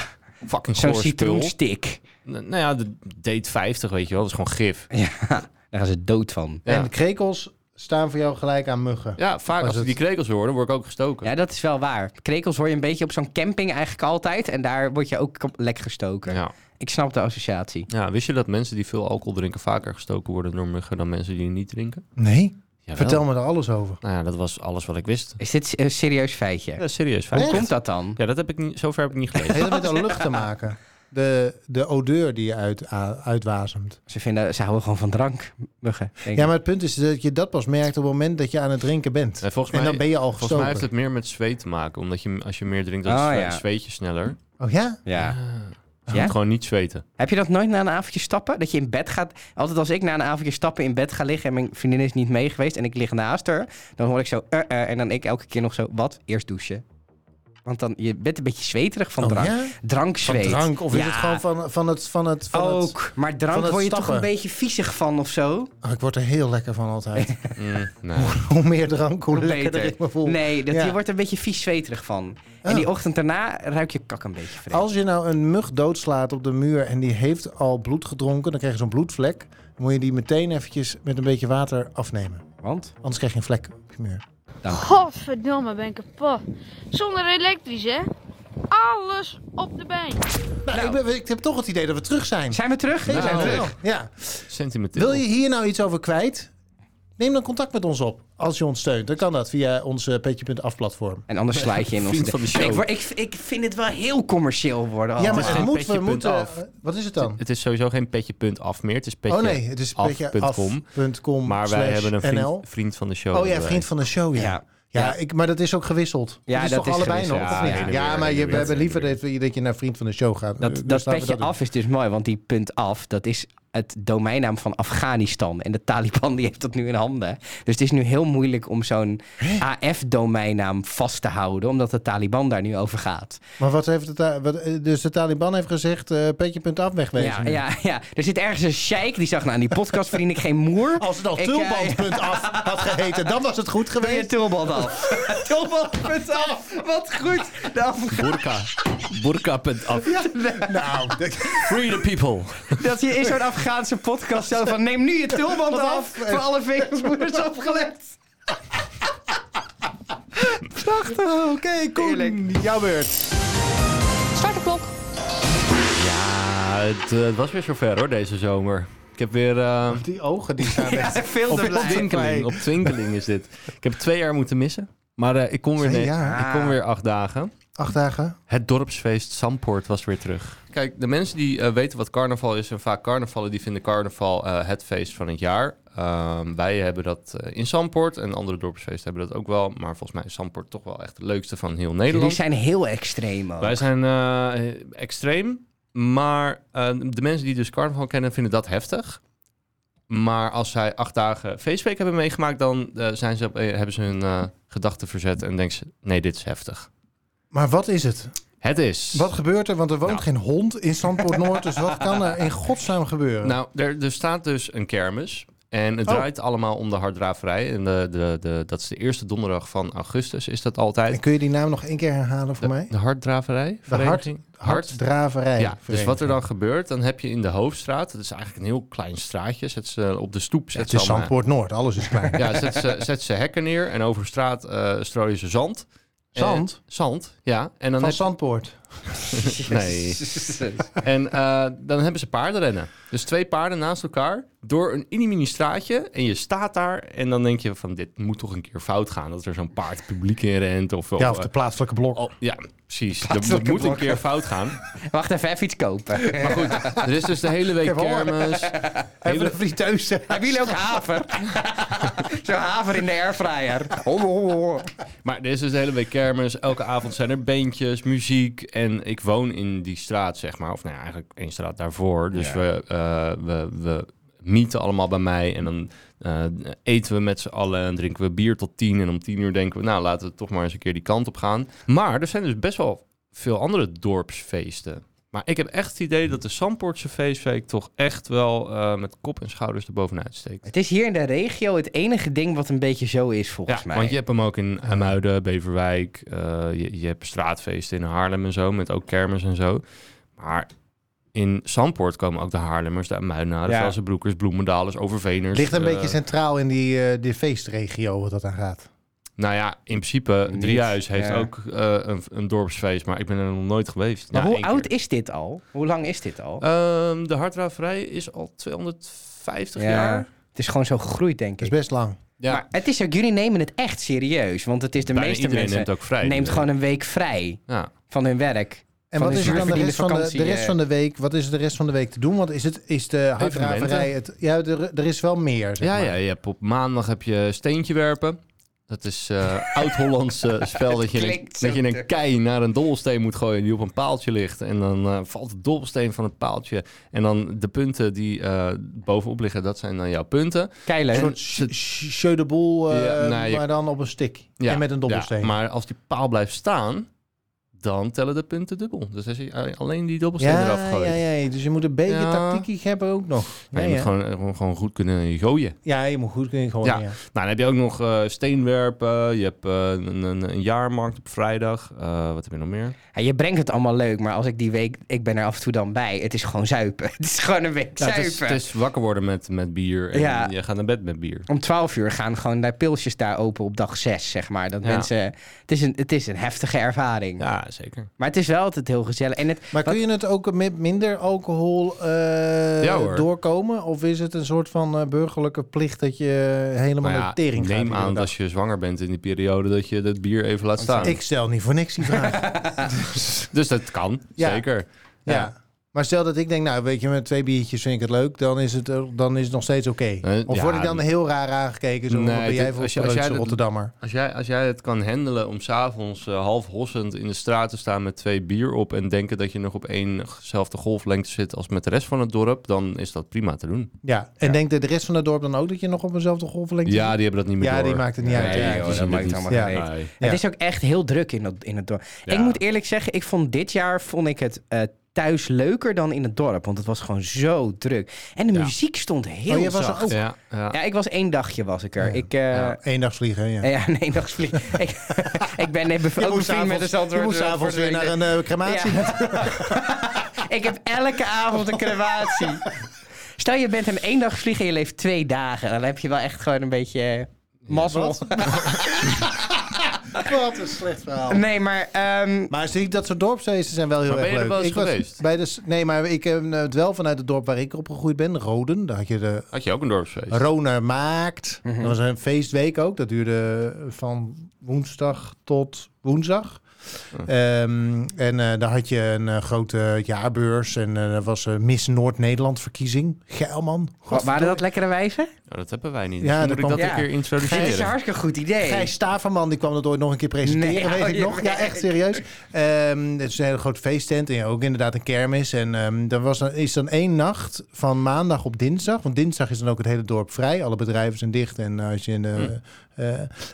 Speaker 3: Fucking
Speaker 1: zo'n
Speaker 3: goor spul.
Speaker 1: citroenstick.
Speaker 3: N- Nou ja, de date 50, weet je wel, dat is gewoon gif.
Speaker 1: Ja, daar gaan ze dood van.
Speaker 3: Ja,
Speaker 2: En krekels staan voor jou gelijk aan muggen.
Speaker 3: ja vaak
Speaker 2: Was
Speaker 3: als ik
Speaker 2: het-
Speaker 3: die krekels hoor, dan word ik ook gestoken.
Speaker 1: Ja, dat is wel waar. Krekels hoor je een beetje op zo'n camping eigenlijk altijd. En daar word je ook kom- lek gestoken.
Speaker 3: ja.
Speaker 1: Ik snap de associatie.
Speaker 3: Ja, wist je dat mensen die veel alcohol drinken vaker gestoken worden door muggen dan mensen die niet drinken?
Speaker 2: Nee?
Speaker 3: Jawel.
Speaker 2: Vertel me daar alles over.
Speaker 3: Nou ja, dat was alles wat ik wist.
Speaker 1: Is dit een serieus feitje?
Speaker 3: Ja, serieus.
Speaker 1: Hoe
Speaker 3: Hoe
Speaker 1: komt dat dan?
Speaker 3: Ja, dat heb ik niet, zover heb ik niet gelezen.
Speaker 2: Heeft dat met de lucht te maken? De, de odeur die je uit, a- uitwasemt.
Speaker 1: Ze, vinden, ze houden gewoon van drank, muggen. denk
Speaker 2: Ja,
Speaker 1: ik.
Speaker 2: maar het punt is dat je dat pas merkt op het moment dat je aan het drinken bent.
Speaker 1: Eh,
Speaker 3: Nee, volgens
Speaker 2: en
Speaker 3: mij,
Speaker 2: dan ben je al
Speaker 3: volgens mij
Speaker 2: gestoken. Ah,
Speaker 3: heeft het meer met zweet te maken. Omdat je, als je meer drinkt, dan
Speaker 1: Oh,
Speaker 3: zwe-
Speaker 1: ja.
Speaker 3: zweet je sneller.
Speaker 2: Oh ja?
Speaker 1: Ja.
Speaker 3: Dus je
Speaker 1: Ja?
Speaker 3: moet gewoon niet zweten.
Speaker 1: Heb je dat nooit na een avondje stappen? Dat je in bed gaat... Altijd als ik na een avondje stappen in bed ga liggen... en mijn vriendin is niet mee geweest en ik lig naast haar... dan hoor ik zo... eh, eh, en dan ik elke keer nog zo... Wat? Eerst douchen. Want dan, je bent een beetje zweterig van
Speaker 2: Oh,
Speaker 1: drank.
Speaker 2: ja? Van
Speaker 1: Drankzweet.
Speaker 2: drank? Of is
Speaker 1: Ja.
Speaker 2: het gewoon van, van het... Van het, van het-
Speaker 1: Ook. Maar drank
Speaker 2: van het
Speaker 1: word je toch
Speaker 2: stappen.
Speaker 1: een beetje viezig van of zo?
Speaker 2: Oh, ik word er heel lekker van altijd.
Speaker 3: Mm, nee.
Speaker 2: hoe meer drank, hoe lekkerder
Speaker 1: Beter.
Speaker 2: ik me voel.
Speaker 1: Nee, dat,
Speaker 2: Ja.
Speaker 1: je wordt er een beetje vies zweterig van. En
Speaker 2: Oh.
Speaker 1: die ochtend daarna ruik je kak een beetje vreemd.
Speaker 2: Als je nou een mug doodslaat op de muur en die heeft al bloed gedronken, dan krijg je zo'n bloedvlek. Dan moet je die meteen eventjes met een beetje water afnemen.
Speaker 1: Want?
Speaker 2: Anders krijg je een vlek op je muur.
Speaker 4: Godverdomme, ben ik kapot. Zonder elektrisch, hè? Alles op de been.
Speaker 2: Nou, Ik, ben- ik heb toch het idee dat we terug zijn.
Speaker 1: Zijn we terug?
Speaker 2: Nee,
Speaker 3: Nou,
Speaker 2: zijn we
Speaker 3: terug.
Speaker 2: wel. Ja.
Speaker 3: Sentimenteel.
Speaker 2: Wil je hier nou iets over kwijt? Neem dan contact met ons op als je ons steunt. Dan kan dat via ons eh, petje.af platform.
Speaker 1: En anders slijt je in
Speaker 3: Vriend
Speaker 1: onze...
Speaker 3: van de show.
Speaker 1: Ik, word- ik, ik vind het wel heel commercieel worden.
Speaker 2: ja,
Speaker 1: altijd.
Speaker 2: maar
Speaker 3: is
Speaker 2: het
Speaker 3: geen
Speaker 2: moet, we
Speaker 3: petje punt
Speaker 2: moeten...
Speaker 3: af.
Speaker 2: Wat is het dan?
Speaker 3: Het is sowieso geen petje punt af meer. Het is petje
Speaker 2: oh nee, het is
Speaker 3: af punt com.
Speaker 2: petjeaf.com
Speaker 3: Maar wij hebben een
Speaker 2: NL.
Speaker 3: vriend, vriend van de show.
Speaker 2: Oh
Speaker 3: eh,
Speaker 2: ja,
Speaker 3: hebben wij.
Speaker 2: vriend van de show, ja.
Speaker 1: Ja.
Speaker 2: Ja, ik, maar dat is ook gewisseld.
Speaker 1: Ja,
Speaker 2: dat is
Speaker 1: dat
Speaker 2: toch
Speaker 1: is
Speaker 2: allebei
Speaker 1: gewisseld.
Speaker 2: nog?
Speaker 1: Ja,
Speaker 2: of niet?
Speaker 1: heen
Speaker 2: Ja,
Speaker 1: en
Speaker 3: weer,
Speaker 2: maar
Speaker 3: heen
Speaker 2: je,
Speaker 3: en
Speaker 2: we hebben
Speaker 3: weer, heen en
Speaker 2: liever dat, je- dat je naar vriend van de show gaat.
Speaker 1: Dat,
Speaker 2: Dus
Speaker 1: dat
Speaker 2: laten we
Speaker 1: petje
Speaker 2: doen.
Speaker 1: af is dus mooi, want die punt af, dat is het domeinnaam van Afghanistan. En de Taliban die heeft dat nu in handen. Dus het is nu heel moeilijk om zo'n AF-domeinnaam vast te houden, omdat de Taliban daar nu over gaat.
Speaker 2: Maar wat heeft het daar? wat- eh, Dus de Taliban heeft gezegd: eh petje punt af wegwezen.
Speaker 1: Ja,
Speaker 2: nu.
Speaker 1: ja, ja, er zit ergens een sheik die zag, nou, aan die podcast verdien ik geen moer.
Speaker 2: Als het al
Speaker 1: Ik, eh,
Speaker 2: tulband.af had geheten, dan was het goed
Speaker 1: Doe je
Speaker 2: geweest.
Speaker 1: tulband af. tulband punt af. Wat goed. De Afgha-
Speaker 3: Burka. Burka punt af.
Speaker 2: Nou, dit-
Speaker 3: Free the people.
Speaker 1: dat je in zo'n Afghaanse podcast zo van... neem nu je tulband af voor alle vingers opgelegd.
Speaker 2: oké, Koen,
Speaker 1: Heerlijk.
Speaker 2: jouw beurt.
Speaker 5: Start de klok.
Speaker 3: Ja, het, eh, het was weer zover hoor deze zomer. Ik heb weer... eh,
Speaker 2: Die ogen die staan echt.
Speaker 1: Veel
Speaker 2: Of
Speaker 1: te
Speaker 2: ik
Speaker 1: blij.
Speaker 3: Op twinkeling, op twinkeling is dit. Ik heb twee jaar moeten missen. Maar eh, ik, kom weer
Speaker 2: Twee
Speaker 3: ne-
Speaker 2: jaar?
Speaker 3: ik kom weer acht dagen.
Speaker 2: Acht dagen.
Speaker 3: Het dorpsfeest Sampoort was weer terug. Kijk, de mensen die eh, weten wat carnaval is en vaak carnavallen, die vinden carnaval eh, het feest van het jaar. Ehm, wij hebben dat eh, in Sampoort en andere dorpsfeesten hebben dat ook wel. Maar volgens mij is Sampoort toch wel echt het leukste van heel
Speaker 1: Jullie
Speaker 3: Nederland.
Speaker 1: zijn heel extreem ook.
Speaker 3: Wij zijn eh, extreem, maar eh, de mensen die dus carnaval kennen vinden dat heftig. Maar als zij acht dagen feestweek hebben meegemaakt, dan eh, zijn ze, op- eh, hebben ze hun eh, gedachten verzet en denken ze, nee, dit is heftig.
Speaker 2: Maar wat is het?
Speaker 3: Het is.
Speaker 2: Wat gebeurt er? Want er woont
Speaker 3: Nou.
Speaker 2: geen hond in Zandpoort Noord. Dus wat kan er in godsnaam gebeuren?
Speaker 3: Nou, er, er staat dus een kermis. En het
Speaker 2: Oh.
Speaker 3: draait allemaal om de harddraverij. En de, de, de, dat is de eerste donderdag van augustus, is dat altijd.
Speaker 2: En kun je die naam nog één keer herhalen voor
Speaker 3: De,
Speaker 2: mij?
Speaker 3: de harddraverij? vereniging?
Speaker 2: Harddraverij.
Speaker 3: Ja, dus wat er dan gebeurt, dan heb je in de Hoofdstraat, dat is eigenlijk een heel klein straatje, zet ze op de stoep. Zet
Speaker 2: Het
Speaker 3: ze
Speaker 2: is
Speaker 3: allemaal-
Speaker 2: Zandpoort Noord, alles is klein.
Speaker 3: Ja, zet ze, zet ze hekken neer en over straat eh strooien ze zand.
Speaker 2: Zand?
Speaker 3: En- zand, ja. En dan,
Speaker 2: Van
Speaker 3: heb,
Speaker 2: Eh, Zandpoort.
Speaker 3: Nee. en, eh, dan hebben ze paardenrennen. Dus twee paarden naast elkaar door een inimini straatje. En je staat daar en dan denk je van dit moet toch een keer fout gaan. Dat er zo'n paard publiek in rent. Of,
Speaker 2: Ja, of de plaatselijke blok.
Speaker 3: eh, oh, ja, precies. Dat,
Speaker 1: Plaatselijke
Speaker 3: moet een
Speaker 1: blokken.
Speaker 3: keer fout gaan.
Speaker 1: Wacht even, even iets kopen.
Speaker 3: Maar goed, er is dus de hele
Speaker 2: Ik
Speaker 3: week
Speaker 2: heb honger.
Speaker 3: kermis.
Speaker 2: Even
Speaker 3: Hele-
Speaker 2: de friteuse.
Speaker 1: Hebben jullie ook haver? Zo'n haver in de airfryer. Ho, ho, ho.
Speaker 3: Maar er is dus de hele week kermis. Elke avond zijn er bandjes, muziek. En ik woon in die straat, zeg maar. Of nou ja, eigenlijk één straat daarvoor. Dus we, eh we, we mieten allemaal bij mij. En dan eh, eten we met z'n allen en drinken we bier tot tien. En om tien uur denken we, nou laten we toch maar eens een keer die kant op gaan. Maar er zijn dus best wel veel andere dorpsfeesten. Maar ik heb echt het idee dat de Samportse feestweek toch echt wel eh, met kop en schouders erbovenuit steekt.
Speaker 1: Het is hier in de regio het enige ding wat een beetje zo is, volgens mij.
Speaker 3: want je hebt hem ook in Amuiden, Beverwijk. eh, je, je hebt straatfeesten in Haarlem en zo, met ook kermis en zo. Maar in Zandpoort komen ook de Haarlemmers, de Amuidenaren,
Speaker 1: Ja.
Speaker 3: ja. Velsenbroekers, Bloemendalers, Overveners.
Speaker 2: Ligt een
Speaker 3: eh,
Speaker 2: beetje centraal in die, eh, die feestregio wat dat aan gaat.
Speaker 3: Nou ja, in principe,
Speaker 1: Niet,
Speaker 3: Driehuis heeft
Speaker 1: ja.
Speaker 3: ook eh, een, een dorpsfeest, maar ik ben er nog nooit geweest.
Speaker 1: Maar
Speaker 3: Ja,
Speaker 1: hoe
Speaker 3: één keer.
Speaker 1: oud is dit al? Hoe lang is dit al?
Speaker 3: Ehm, de Hardraverij is al 250
Speaker 1: Ja.
Speaker 3: jaar.
Speaker 1: Het is gewoon zo gegroeid, denk
Speaker 2: Dat is
Speaker 1: ik.
Speaker 2: best lang.
Speaker 3: Ja,
Speaker 1: Maar het is ook, jullie nemen het echt serieus. Want het is de
Speaker 3: bijna
Speaker 1: meeste
Speaker 3: iedereen
Speaker 1: mensen
Speaker 3: neemt ook vrij. dus,
Speaker 1: neemt gewoon een week vrij
Speaker 3: Ja.
Speaker 1: van hun werk.
Speaker 2: En
Speaker 1: Van
Speaker 2: wat
Speaker 1: de
Speaker 2: is er dan de
Speaker 1: zwaarverdiende
Speaker 2: rest, van de,
Speaker 1: vakantie,
Speaker 2: de rest
Speaker 1: eh.
Speaker 2: van de week? Wat is er de rest van de week te doen? Want is, het, is de harddraverij het? Ja, er, er is wel meer. Zeg
Speaker 3: Ja,
Speaker 2: maar.
Speaker 3: ja, je hebt op maandag heb je steentje werpen. Dat is eh oud-Hollands eh, spel dat je, in een,
Speaker 1: Klinkt zo
Speaker 3: dat je in
Speaker 1: te-
Speaker 3: een kei naar een dobbelsteen moet gooien die op een paaltje ligt. En dan eh, valt de dobbelsteen van het paaltje. En dan de punten die eh, bovenop liggen, dat zijn dan jouw punten.
Speaker 1: Keileuk.
Speaker 2: Een soort
Speaker 3: ze-
Speaker 2: sh- sh- jeu de boel, eh,
Speaker 3: Ja, nou, je-
Speaker 2: maar dan op een stick.
Speaker 3: Ja,
Speaker 2: en met een dobbelsteen.
Speaker 3: Ja, maar als die paal blijft staan, dan tellen de punten dubbel. Dus als je eh, alleen die dobbelsteen eraf
Speaker 2: ja,
Speaker 3: gooit.
Speaker 2: ja, ja, dus je moet een beetje
Speaker 3: Ja.
Speaker 2: tactiek hebben ook nog. Ja,
Speaker 3: Maar je
Speaker 2: ja.
Speaker 3: moet gewoon, eh, gewoon, gewoon goed kunnen gooien.
Speaker 2: Ja, je moet goed kunnen gewoon. Ja.
Speaker 3: Ja. Nou, dan heb je ook nog eh, steenwerpen. Je hebt eh, een, een, een jaarmarkt op vrijdag. Eh, wat heb je nog meer?
Speaker 1: Ja, je brengt het allemaal leuk, maar als ik die week... Ik ben er af en toe dan bij. Het is gewoon zuipen. Het is gewoon een week
Speaker 3: Ja,
Speaker 1: zuipen.
Speaker 3: het, is, het is wakker worden met, met bier. En
Speaker 1: Ja.
Speaker 3: je gaat naar bed met bier.
Speaker 1: Om 12 uur gaan gewoon daar pilsjes daar open op dag 6, zeg maar. Dat
Speaker 3: Ja.
Speaker 1: mensen... Het is, een, het is een heftige ervaring.
Speaker 3: Ja, zeker.
Speaker 1: Maar het is wel altijd heel gezellig. En het,
Speaker 2: Maar kun je het ook met minder alcohol eh,
Speaker 3: Ja, hoor.
Speaker 2: doorkomen? Of is het een soort van eh, burgerlijke plicht dat je eh, helemaal
Speaker 3: Nou
Speaker 2: naar
Speaker 3: ja,
Speaker 2: de tering gaat?
Speaker 3: neem
Speaker 2: iedere
Speaker 3: aan
Speaker 2: dag?
Speaker 3: als je zwanger bent in die periode dat je dat bier even laat staan.
Speaker 2: Ik stel niet voor niks die vraag.
Speaker 3: Dus dat kan,
Speaker 2: Ja.
Speaker 3: zeker.
Speaker 2: Ja.
Speaker 3: Ja.
Speaker 2: Maar stel dat ik denk, nou weet je, met twee biertjes vind ik het leuk, dan is het, er- dan is het nog steeds oké.
Speaker 3: Eh,
Speaker 2: of
Speaker 3: ja,
Speaker 2: word ik dan heel raar aangekeken? Zo,
Speaker 3: Nee,
Speaker 2: wat ben jij
Speaker 3: dit-
Speaker 2: voor
Speaker 3: als je- als jij
Speaker 2: preutse
Speaker 3: dat-
Speaker 2: Rotterdammer?
Speaker 3: Als jij, als jij het kan handelen om s'avonds avonds eh, half hossend in de straat te staan met twee bier op... en denken dat je nog op éénzelfde golflengte zit als met de rest van het dorp... dan is dat prima te doen.
Speaker 2: Ja. En denkt de rest van het dorp dan ook dat je nog op eenzelfde golflengte
Speaker 3: Ja,
Speaker 2: zit?
Speaker 3: die hebben dat niet meer
Speaker 2: Ja,
Speaker 3: door.
Speaker 2: die maakt het niet uit.
Speaker 1: Nee,
Speaker 2: Ja,
Speaker 1: joh,
Speaker 2: die
Speaker 1: dat
Speaker 3: zien
Speaker 1: maakt
Speaker 3: het
Speaker 1: allemaal
Speaker 2: niet.
Speaker 1: geen reet.
Speaker 3: Nee.
Speaker 2: Ja.
Speaker 1: Het is ook echt heel druk in dat, in het dorp.
Speaker 3: Ja.
Speaker 1: Ik moet eerlijk zeggen, ik vond dit jaar vond ik het eh, thuis leuker dan in het dorp. Want het was gewoon zo druk. En de
Speaker 3: Ja.
Speaker 1: muziek stond heel
Speaker 2: Oh, jij was er
Speaker 1: zacht.
Speaker 2: ook?
Speaker 3: Ja, ja.
Speaker 1: Ja, ik was één dagje was ik er.
Speaker 2: Ja.
Speaker 1: Ik, eh,
Speaker 3: Ja.
Speaker 2: Eendagsvliegen, ja.
Speaker 1: ja. nee, dag vlieg. ik, ik ben nee, bev- ook bevriend met de
Speaker 2: je
Speaker 1: Zandvoort.
Speaker 2: moest
Speaker 1: eh,
Speaker 2: avonds
Speaker 1: voor
Speaker 2: weer
Speaker 1: de
Speaker 2: naar
Speaker 1: week.
Speaker 2: een eh, crematie.
Speaker 1: Ja. ik heb elke avond een crematie. Stel, je bent hem één dag vliegen en je leeft twee dagen. Dan heb je wel echt gewoon een beetje eh, mazzel.
Speaker 2: Wat een slecht verhaal.
Speaker 1: nee, maar... ehm,
Speaker 2: Maar zie ik dat soort dorpsfeesten zijn wel heel
Speaker 3: Maar
Speaker 2: erg
Speaker 3: ben je er
Speaker 2: leuk.
Speaker 3: wel eens
Speaker 2: ik was
Speaker 3: geweest?
Speaker 2: Bij de, s- nee, maar ik heb eh, het wel vanuit het dorp waar ik opgegroeid ben, Roden. Daar had je de
Speaker 3: Had je ook een dorpsfeest?
Speaker 2: Roner maakt.
Speaker 1: Mhm.
Speaker 2: Dat was een feestweek ook. Dat duurde van woensdag tot woensdag. Ehm, en eh, daar had je een eh, grote jaarbeurs. En eh, er was een Miss Noord-Nederland verkiezing. Geil man.
Speaker 1: Wa- waren dat lekkere wijven?
Speaker 3: Nou, dat hebben wij niet.
Speaker 2: Ja,
Speaker 3: Ja,
Speaker 2: dat
Speaker 3: moet ik
Speaker 2: komt-
Speaker 3: dat
Speaker 1: Ja.
Speaker 3: een keer
Speaker 1: Het
Speaker 3: introduceren.
Speaker 1: is een hartstikke goed idee.
Speaker 2: Gijs Staverman, die kwam dat ooit nog een keer presenteren,
Speaker 1: Nee,
Speaker 2: weet
Speaker 1: hou
Speaker 2: ik
Speaker 1: je
Speaker 2: nog. Ja,
Speaker 1: bek.
Speaker 2: echt serieus. Ehm het is een hele grote feesttent en ja, ook inderdaad een kermis. En ehm er was dan, is dan één nacht van maandag op dinsdag. Want dinsdag is dan ook het hele dorp vrij. Alle bedrijven zijn dicht.
Speaker 1: Hmm.
Speaker 2: eh, En, als je in de, eh,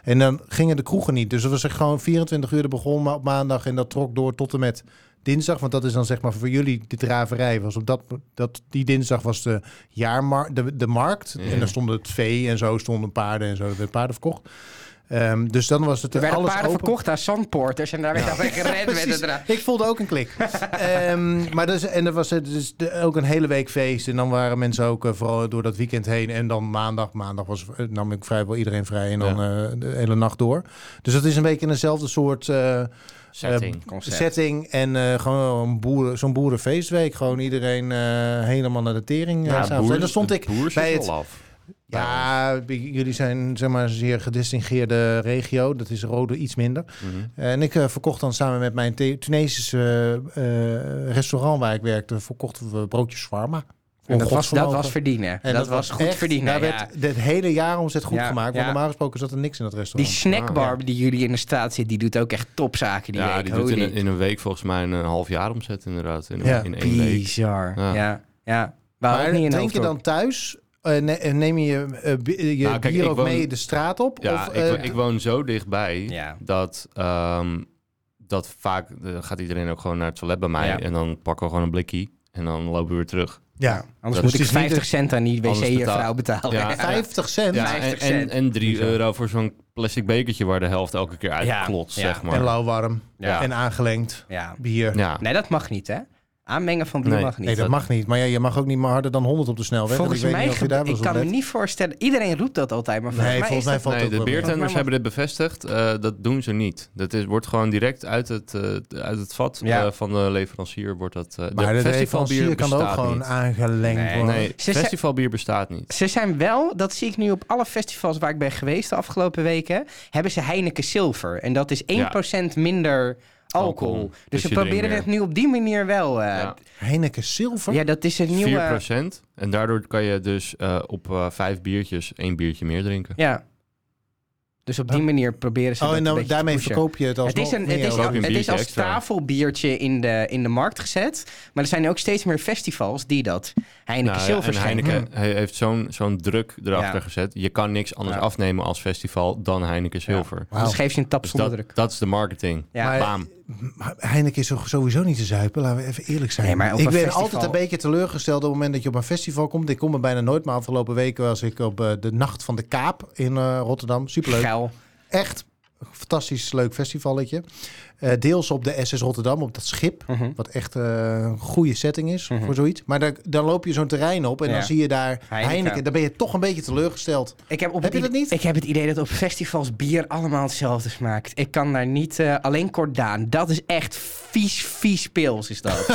Speaker 2: en dan gingen de kroegen niet. Dus er was echt gewoon 24 uur. Er begon maar op maandag en dat trok door tot en met dinsdag. Want dat is dan zeg maar voor jullie de draverij. Was op dat, dat, die dinsdag was de, jaarmar, de, de markt.
Speaker 1: Hmm.
Speaker 3: Ja.
Speaker 2: En daar stond het vee en zo stonden paarden en zo. Er werden paarden verkocht. Ehm, dus dan was het
Speaker 1: Er werden
Speaker 2: alles
Speaker 1: paarden
Speaker 2: open.
Speaker 1: verkocht aan zandpoorters en daar werd dan gered met
Speaker 2: Precies.
Speaker 1: het ra-
Speaker 2: Ik voelde ook een klik. Ehm, maar dus, en er was eh, dus de- ook een hele week feest. En dan waren mensen ook eh, vooral door dat weekend heen. En dan maandag. Maandag was, eh, nam ik vrijwel iedereen vrij. En dan eh, de hele nacht door. Dus dat is een beetje eenzelfde soort eh,
Speaker 3: Setting.
Speaker 1: Concept.
Speaker 2: setting. En eh, gewoon een boeren, zo'n boerenfeestweek. Gewoon iedereen eh, helemaal naar de tering.
Speaker 3: Nou,
Speaker 2: eh, s'avonds. en dan stond ik bij het...
Speaker 3: af.
Speaker 2: Ja, bij- jullie zijn zeg maar zeer gedistingeerde regio. Dat is Rode iets minder. En ik eh, verkocht dan samen met mijn Te- Tunesische eh, eh, restaurant waar ik werkte, verkochten we broodjes shawarma.
Speaker 1: En dat, was, dat
Speaker 2: godsvermogen.
Speaker 1: was verdienen.
Speaker 2: En
Speaker 1: dat, was goed
Speaker 2: echt-
Speaker 1: verdienen.
Speaker 2: Daar
Speaker 1: ja.
Speaker 2: werd het hele jaaromzet goed
Speaker 1: Ja,
Speaker 2: gemaakt.
Speaker 1: ja.
Speaker 2: Want normaal gesproken zat er niks in dat
Speaker 1: Die
Speaker 2: restaurant.
Speaker 1: snackbar die jullie in de straat zit, die doet ook echt topzaken die
Speaker 3: ja,
Speaker 1: week.
Speaker 3: die doet in,
Speaker 1: Holy
Speaker 3: een- in een week volgens mij een, eh, half jaar omzet inderdaad. In,
Speaker 2: Ja.
Speaker 3: in één week.
Speaker 1: Bizar. Ja,
Speaker 3: Ja.
Speaker 1: ja.
Speaker 2: maar
Speaker 1: niet in
Speaker 2: drink je dan thuis? eh, ne- eh, neem je je, eh, bi- eh, je
Speaker 3: Nou, kijk,
Speaker 2: bier
Speaker 3: ik
Speaker 2: ook
Speaker 3: woon-
Speaker 2: mee de straat op?
Speaker 3: Ja,
Speaker 2: of,
Speaker 3: ik,
Speaker 2: eh,
Speaker 3: wo- ik woon zo dichtbij
Speaker 1: Ja.
Speaker 3: dat, ehm, dat vaak eh, gaat iedereen ook gewoon naar het toilet bij mij.
Speaker 1: Ja.
Speaker 3: En dan pakken we gewoon een blikkie en dan lopen we weer terug.
Speaker 2: ja.
Speaker 1: Anders
Speaker 3: Dat
Speaker 1: moet
Speaker 2: is
Speaker 1: ik
Speaker 2: dus niet
Speaker 1: 50
Speaker 2: dat-
Speaker 1: cent aan die
Speaker 3: Anders
Speaker 1: wc-vrouw betalen.
Speaker 3: Ja.
Speaker 2: 50 cent
Speaker 3: Ja,
Speaker 1: 50
Speaker 3: en,
Speaker 1: cent.
Speaker 3: en, en 3
Speaker 2: Bizar.
Speaker 3: euro voor zo'n plastic bekertje waar de helft elke keer uit
Speaker 1: Ja,
Speaker 3: klotst,
Speaker 1: ja.
Speaker 3: zeg maar.
Speaker 2: en lauwwarm
Speaker 3: Ja.
Speaker 2: en aangelengd
Speaker 1: Ja.
Speaker 2: bier.
Speaker 3: Ja.
Speaker 1: Nee, dat mag niet, hè? Aanmengen van bier
Speaker 3: Nee.
Speaker 1: mag niet.
Speaker 2: Nee, dat mag niet. Maar ja, je mag ook niet meer harder dan 100 op de snelweg.
Speaker 1: volgens
Speaker 2: ik weet
Speaker 1: mij,
Speaker 2: niet of je daar
Speaker 1: gebe- ik
Speaker 2: wel eens op
Speaker 1: kan me
Speaker 2: let.
Speaker 1: niet voorstellen. Iedereen roept dat altijd, maar volgens
Speaker 2: Nee,
Speaker 1: mij
Speaker 2: volgens mij
Speaker 1: is dat...
Speaker 2: valt
Speaker 3: nee,
Speaker 2: het
Speaker 3: de
Speaker 2: ook wel mee.
Speaker 1: Volgens
Speaker 3: beertenders
Speaker 1: mij
Speaker 3: hebben dit bevestigd. eh, dat doen ze niet. Dat is, wordt gewoon direct uit het, eh, uit het vat
Speaker 1: Ja.
Speaker 3: eh, van de leverancier. Wordt dat, eh,
Speaker 2: Maar de
Speaker 3: de festivalbier
Speaker 2: leverancier kan ook
Speaker 3: bestaat
Speaker 2: gewoon
Speaker 3: niet.
Speaker 2: aangelengd
Speaker 1: Nee,
Speaker 2: worden.
Speaker 3: Nee,
Speaker 1: Ze- ze-
Speaker 3: festivalbier bestaat niet.
Speaker 1: Ze zijn wel, dat zie ik nu op alle festivals waar ik ben geweest de afgelopen weken, hebben ze Heineken Silver. En dat is 1% minder alcohol.
Speaker 3: Alcohol.
Speaker 1: Dus,
Speaker 3: Dus
Speaker 1: ze
Speaker 3: je
Speaker 1: proberen
Speaker 3: drinkt
Speaker 1: het nu op die manier wel. eh, ja.
Speaker 3: Ja.
Speaker 2: Heineken Silver?
Speaker 1: dat is een
Speaker 3: 4%.
Speaker 1: nieuwe...
Speaker 3: En daardoor kan je dus eh, op eh, vijf biertjes één biertje meer drinken.
Speaker 1: Ja. Dus op die
Speaker 2: Huh?
Speaker 1: manier proberen ze
Speaker 2: oh,
Speaker 1: dat
Speaker 2: en
Speaker 1: een
Speaker 2: dan,
Speaker 1: beetje te
Speaker 2: daarmee
Speaker 1: pushen.
Speaker 2: verkoop je het als
Speaker 1: Het is, een, het, is,
Speaker 3: ook een
Speaker 1: het is
Speaker 3: biertje
Speaker 1: als
Speaker 3: extra.
Speaker 1: tafelbiertje in de, in de markt gezet. Maar er zijn ook steeds meer festivals die dat Heineken
Speaker 3: Nou ja,
Speaker 1: Silver Hm. Hmm.
Speaker 3: en
Speaker 1: schenken.
Speaker 3: Heineken he- heeft zo'n zo'n druk erachter
Speaker 1: Ja.
Speaker 3: gezet. Je kan niks anders
Speaker 1: Ja.
Speaker 3: afnemen als festival dan Heineken Zilver.
Speaker 1: Anders geef je een tap
Speaker 3: Dus
Speaker 1: zonder
Speaker 3: dat,
Speaker 1: druk.
Speaker 3: dat is de marketing.
Speaker 1: Ja.
Speaker 2: Maar-
Speaker 3: Bam.
Speaker 2: Heineken is toch sowieso niet te zuipen, laten we even eerlijk zijn.
Speaker 1: Nee, maar op
Speaker 2: ik
Speaker 1: een
Speaker 2: ben
Speaker 1: festival-
Speaker 2: altijd een beetje teleurgesteld op het moment dat je op een festival komt. Ik kom er bijna nooit, maar afgelopen weken was ik op eh, de Nacht van de Kaap in eh, Rotterdam. Superleuk.
Speaker 1: Geil.
Speaker 2: Echt een fantastisch leuk festivalletje. Eh, deels op de SS Rotterdam, op dat schip.
Speaker 1: Mhm.
Speaker 2: Wat echt eh, een goede setting is
Speaker 1: Mhm.
Speaker 2: voor zoiets. Maar daar- dan loop je zo'n terrein op en
Speaker 1: Ja.
Speaker 2: dan zie je daar Heineken.
Speaker 1: Heineken.
Speaker 2: Dan ben je toch een beetje teleurgesteld.
Speaker 1: Ik heb, op
Speaker 2: Heb
Speaker 1: het
Speaker 2: je dat
Speaker 1: idee-
Speaker 2: niet?
Speaker 1: Ik heb het idee dat op festivals bier allemaal hetzelfde smaakt. Ik kan daar niet... eh, alleen Cordaan. Dat is echt vies, vies pils is dat.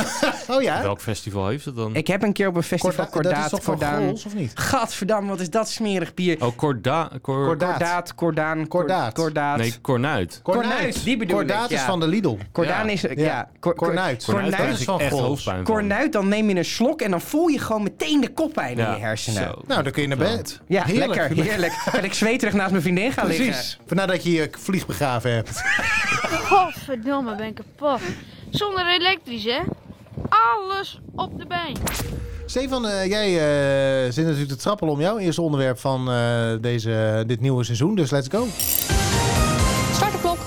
Speaker 2: Oh ja,
Speaker 3: Welk festival heeft het dan?
Speaker 1: ik heb een keer op een festival
Speaker 2: Korda- dat is
Speaker 1: Cordaat...
Speaker 2: toch van
Speaker 1: Cordaan...
Speaker 2: Grols of niet?
Speaker 1: Gadverdamme, wat is dat smerig bier.
Speaker 3: Oh, Corda... Cor-
Speaker 2: Cordaat.
Speaker 1: Cordaat, Cordaan, Cor-
Speaker 2: Cordaat.
Speaker 1: Cordaat.
Speaker 3: Nee, Cornuit.
Speaker 1: Kornuit, die bedoel
Speaker 2: Kordaat
Speaker 1: ik,
Speaker 2: is
Speaker 1: ja.
Speaker 2: van de Lidl.
Speaker 1: Cordaan
Speaker 3: Ja.
Speaker 1: is... Ja,
Speaker 2: Ja.
Speaker 1: Cor- Cor-
Speaker 2: Kornuit.
Speaker 3: Cornuit
Speaker 2: Kornuit
Speaker 3: krijg
Speaker 2: is
Speaker 3: ik
Speaker 2: van
Speaker 3: echt
Speaker 2: Grols.
Speaker 3: hoofdpijn van.
Speaker 1: Cornuit, dan neem je een slok en dan voel je gewoon meteen de koppijn in
Speaker 3: Ja.
Speaker 1: je hersenen.
Speaker 3: Zo.
Speaker 2: Nou, dan kun je naar bed.
Speaker 1: Ja,
Speaker 2: Heerlijk.
Speaker 1: lekker, heerlijk. En ik zweterig naast mijn vriendin gaan liggen.
Speaker 2: Precies. Nadat je je vlieg begraven hebt.
Speaker 4: Godverdomme, ben ik kapot. Zonder elektrisch, hè? Alles op de been.
Speaker 2: Stefan, eh, jij eh, zit natuurlijk te trappelen om jouw eerste onderwerp van eh, deze, dit nieuwe seizoen. Dus let's go.
Speaker 5: Start de klok.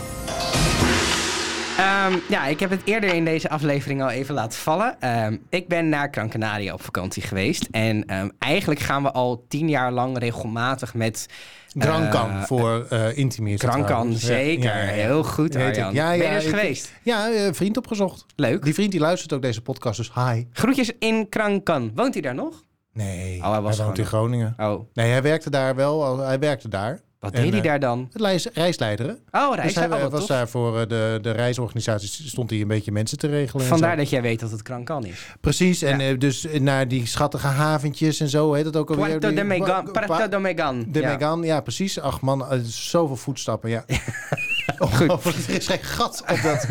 Speaker 1: Ehm, ja, ik heb het eerder in deze aflevering al even laten vallen. Ehm, ik ben naar Gran Canaria op vakantie geweest. En ehm, eigenlijk gaan we al tien jaar lang regelmatig met... eh,
Speaker 2: Drankan voor eh intimier.
Speaker 1: Grankan, zeker. Heel goed,
Speaker 2: Weet ik.
Speaker 1: Arjan.
Speaker 2: Ja,
Speaker 1: ben
Speaker 2: ja,
Speaker 1: je dus
Speaker 2: ik-
Speaker 1: geweest?
Speaker 2: Ja, eh, vriend opgezocht.
Speaker 1: Leuk.
Speaker 2: Die vriend die luistert ook deze podcast, dus hi.
Speaker 1: Groetjes in Krankan. Woont hij daar nog?
Speaker 2: Nee,
Speaker 1: Oh, hij was
Speaker 2: woont in
Speaker 1: Groningen.
Speaker 2: Groningen.
Speaker 1: Oh,
Speaker 2: Nee, hij werkte daar wel. al- Hij werkte daar.
Speaker 1: wat
Speaker 2: En,
Speaker 1: deed hij
Speaker 2: eh,
Speaker 1: daar dan?
Speaker 2: Het reis, reisleideren.
Speaker 1: Oh,
Speaker 2: Dus
Speaker 1: reis
Speaker 2: hij
Speaker 1: daar. Oh,
Speaker 2: eh,
Speaker 1: wat
Speaker 2: was
Speaker 1: tof.
Speaker 2: daar voor eh, de, de reisorganisatie, stond hij een beetje mensen te regelen. en
Speaker 1: Vandaar
Speaker 2: zo.
Speaker 1: dat jij weet dat het Krankan is.
Speaker 2: Precies, en
Speaker 1: Ja.
Speaker 2: eh, dus naar die schattige haventjes en zo, heet het ook alweer?
Speaker 1: Puerto
Speaker 2: Die-
Speaker 1: de Megan.
Speaker 2: Ba-
Speaker 1: Puerto de Megan.
Speaker 2: De
Speaker 1: Ja.
Speaker 2: Megan, ja precies. Ach man, eh, zoveel voetstappen, ja. Ongelooflijk. er is geen gat op dat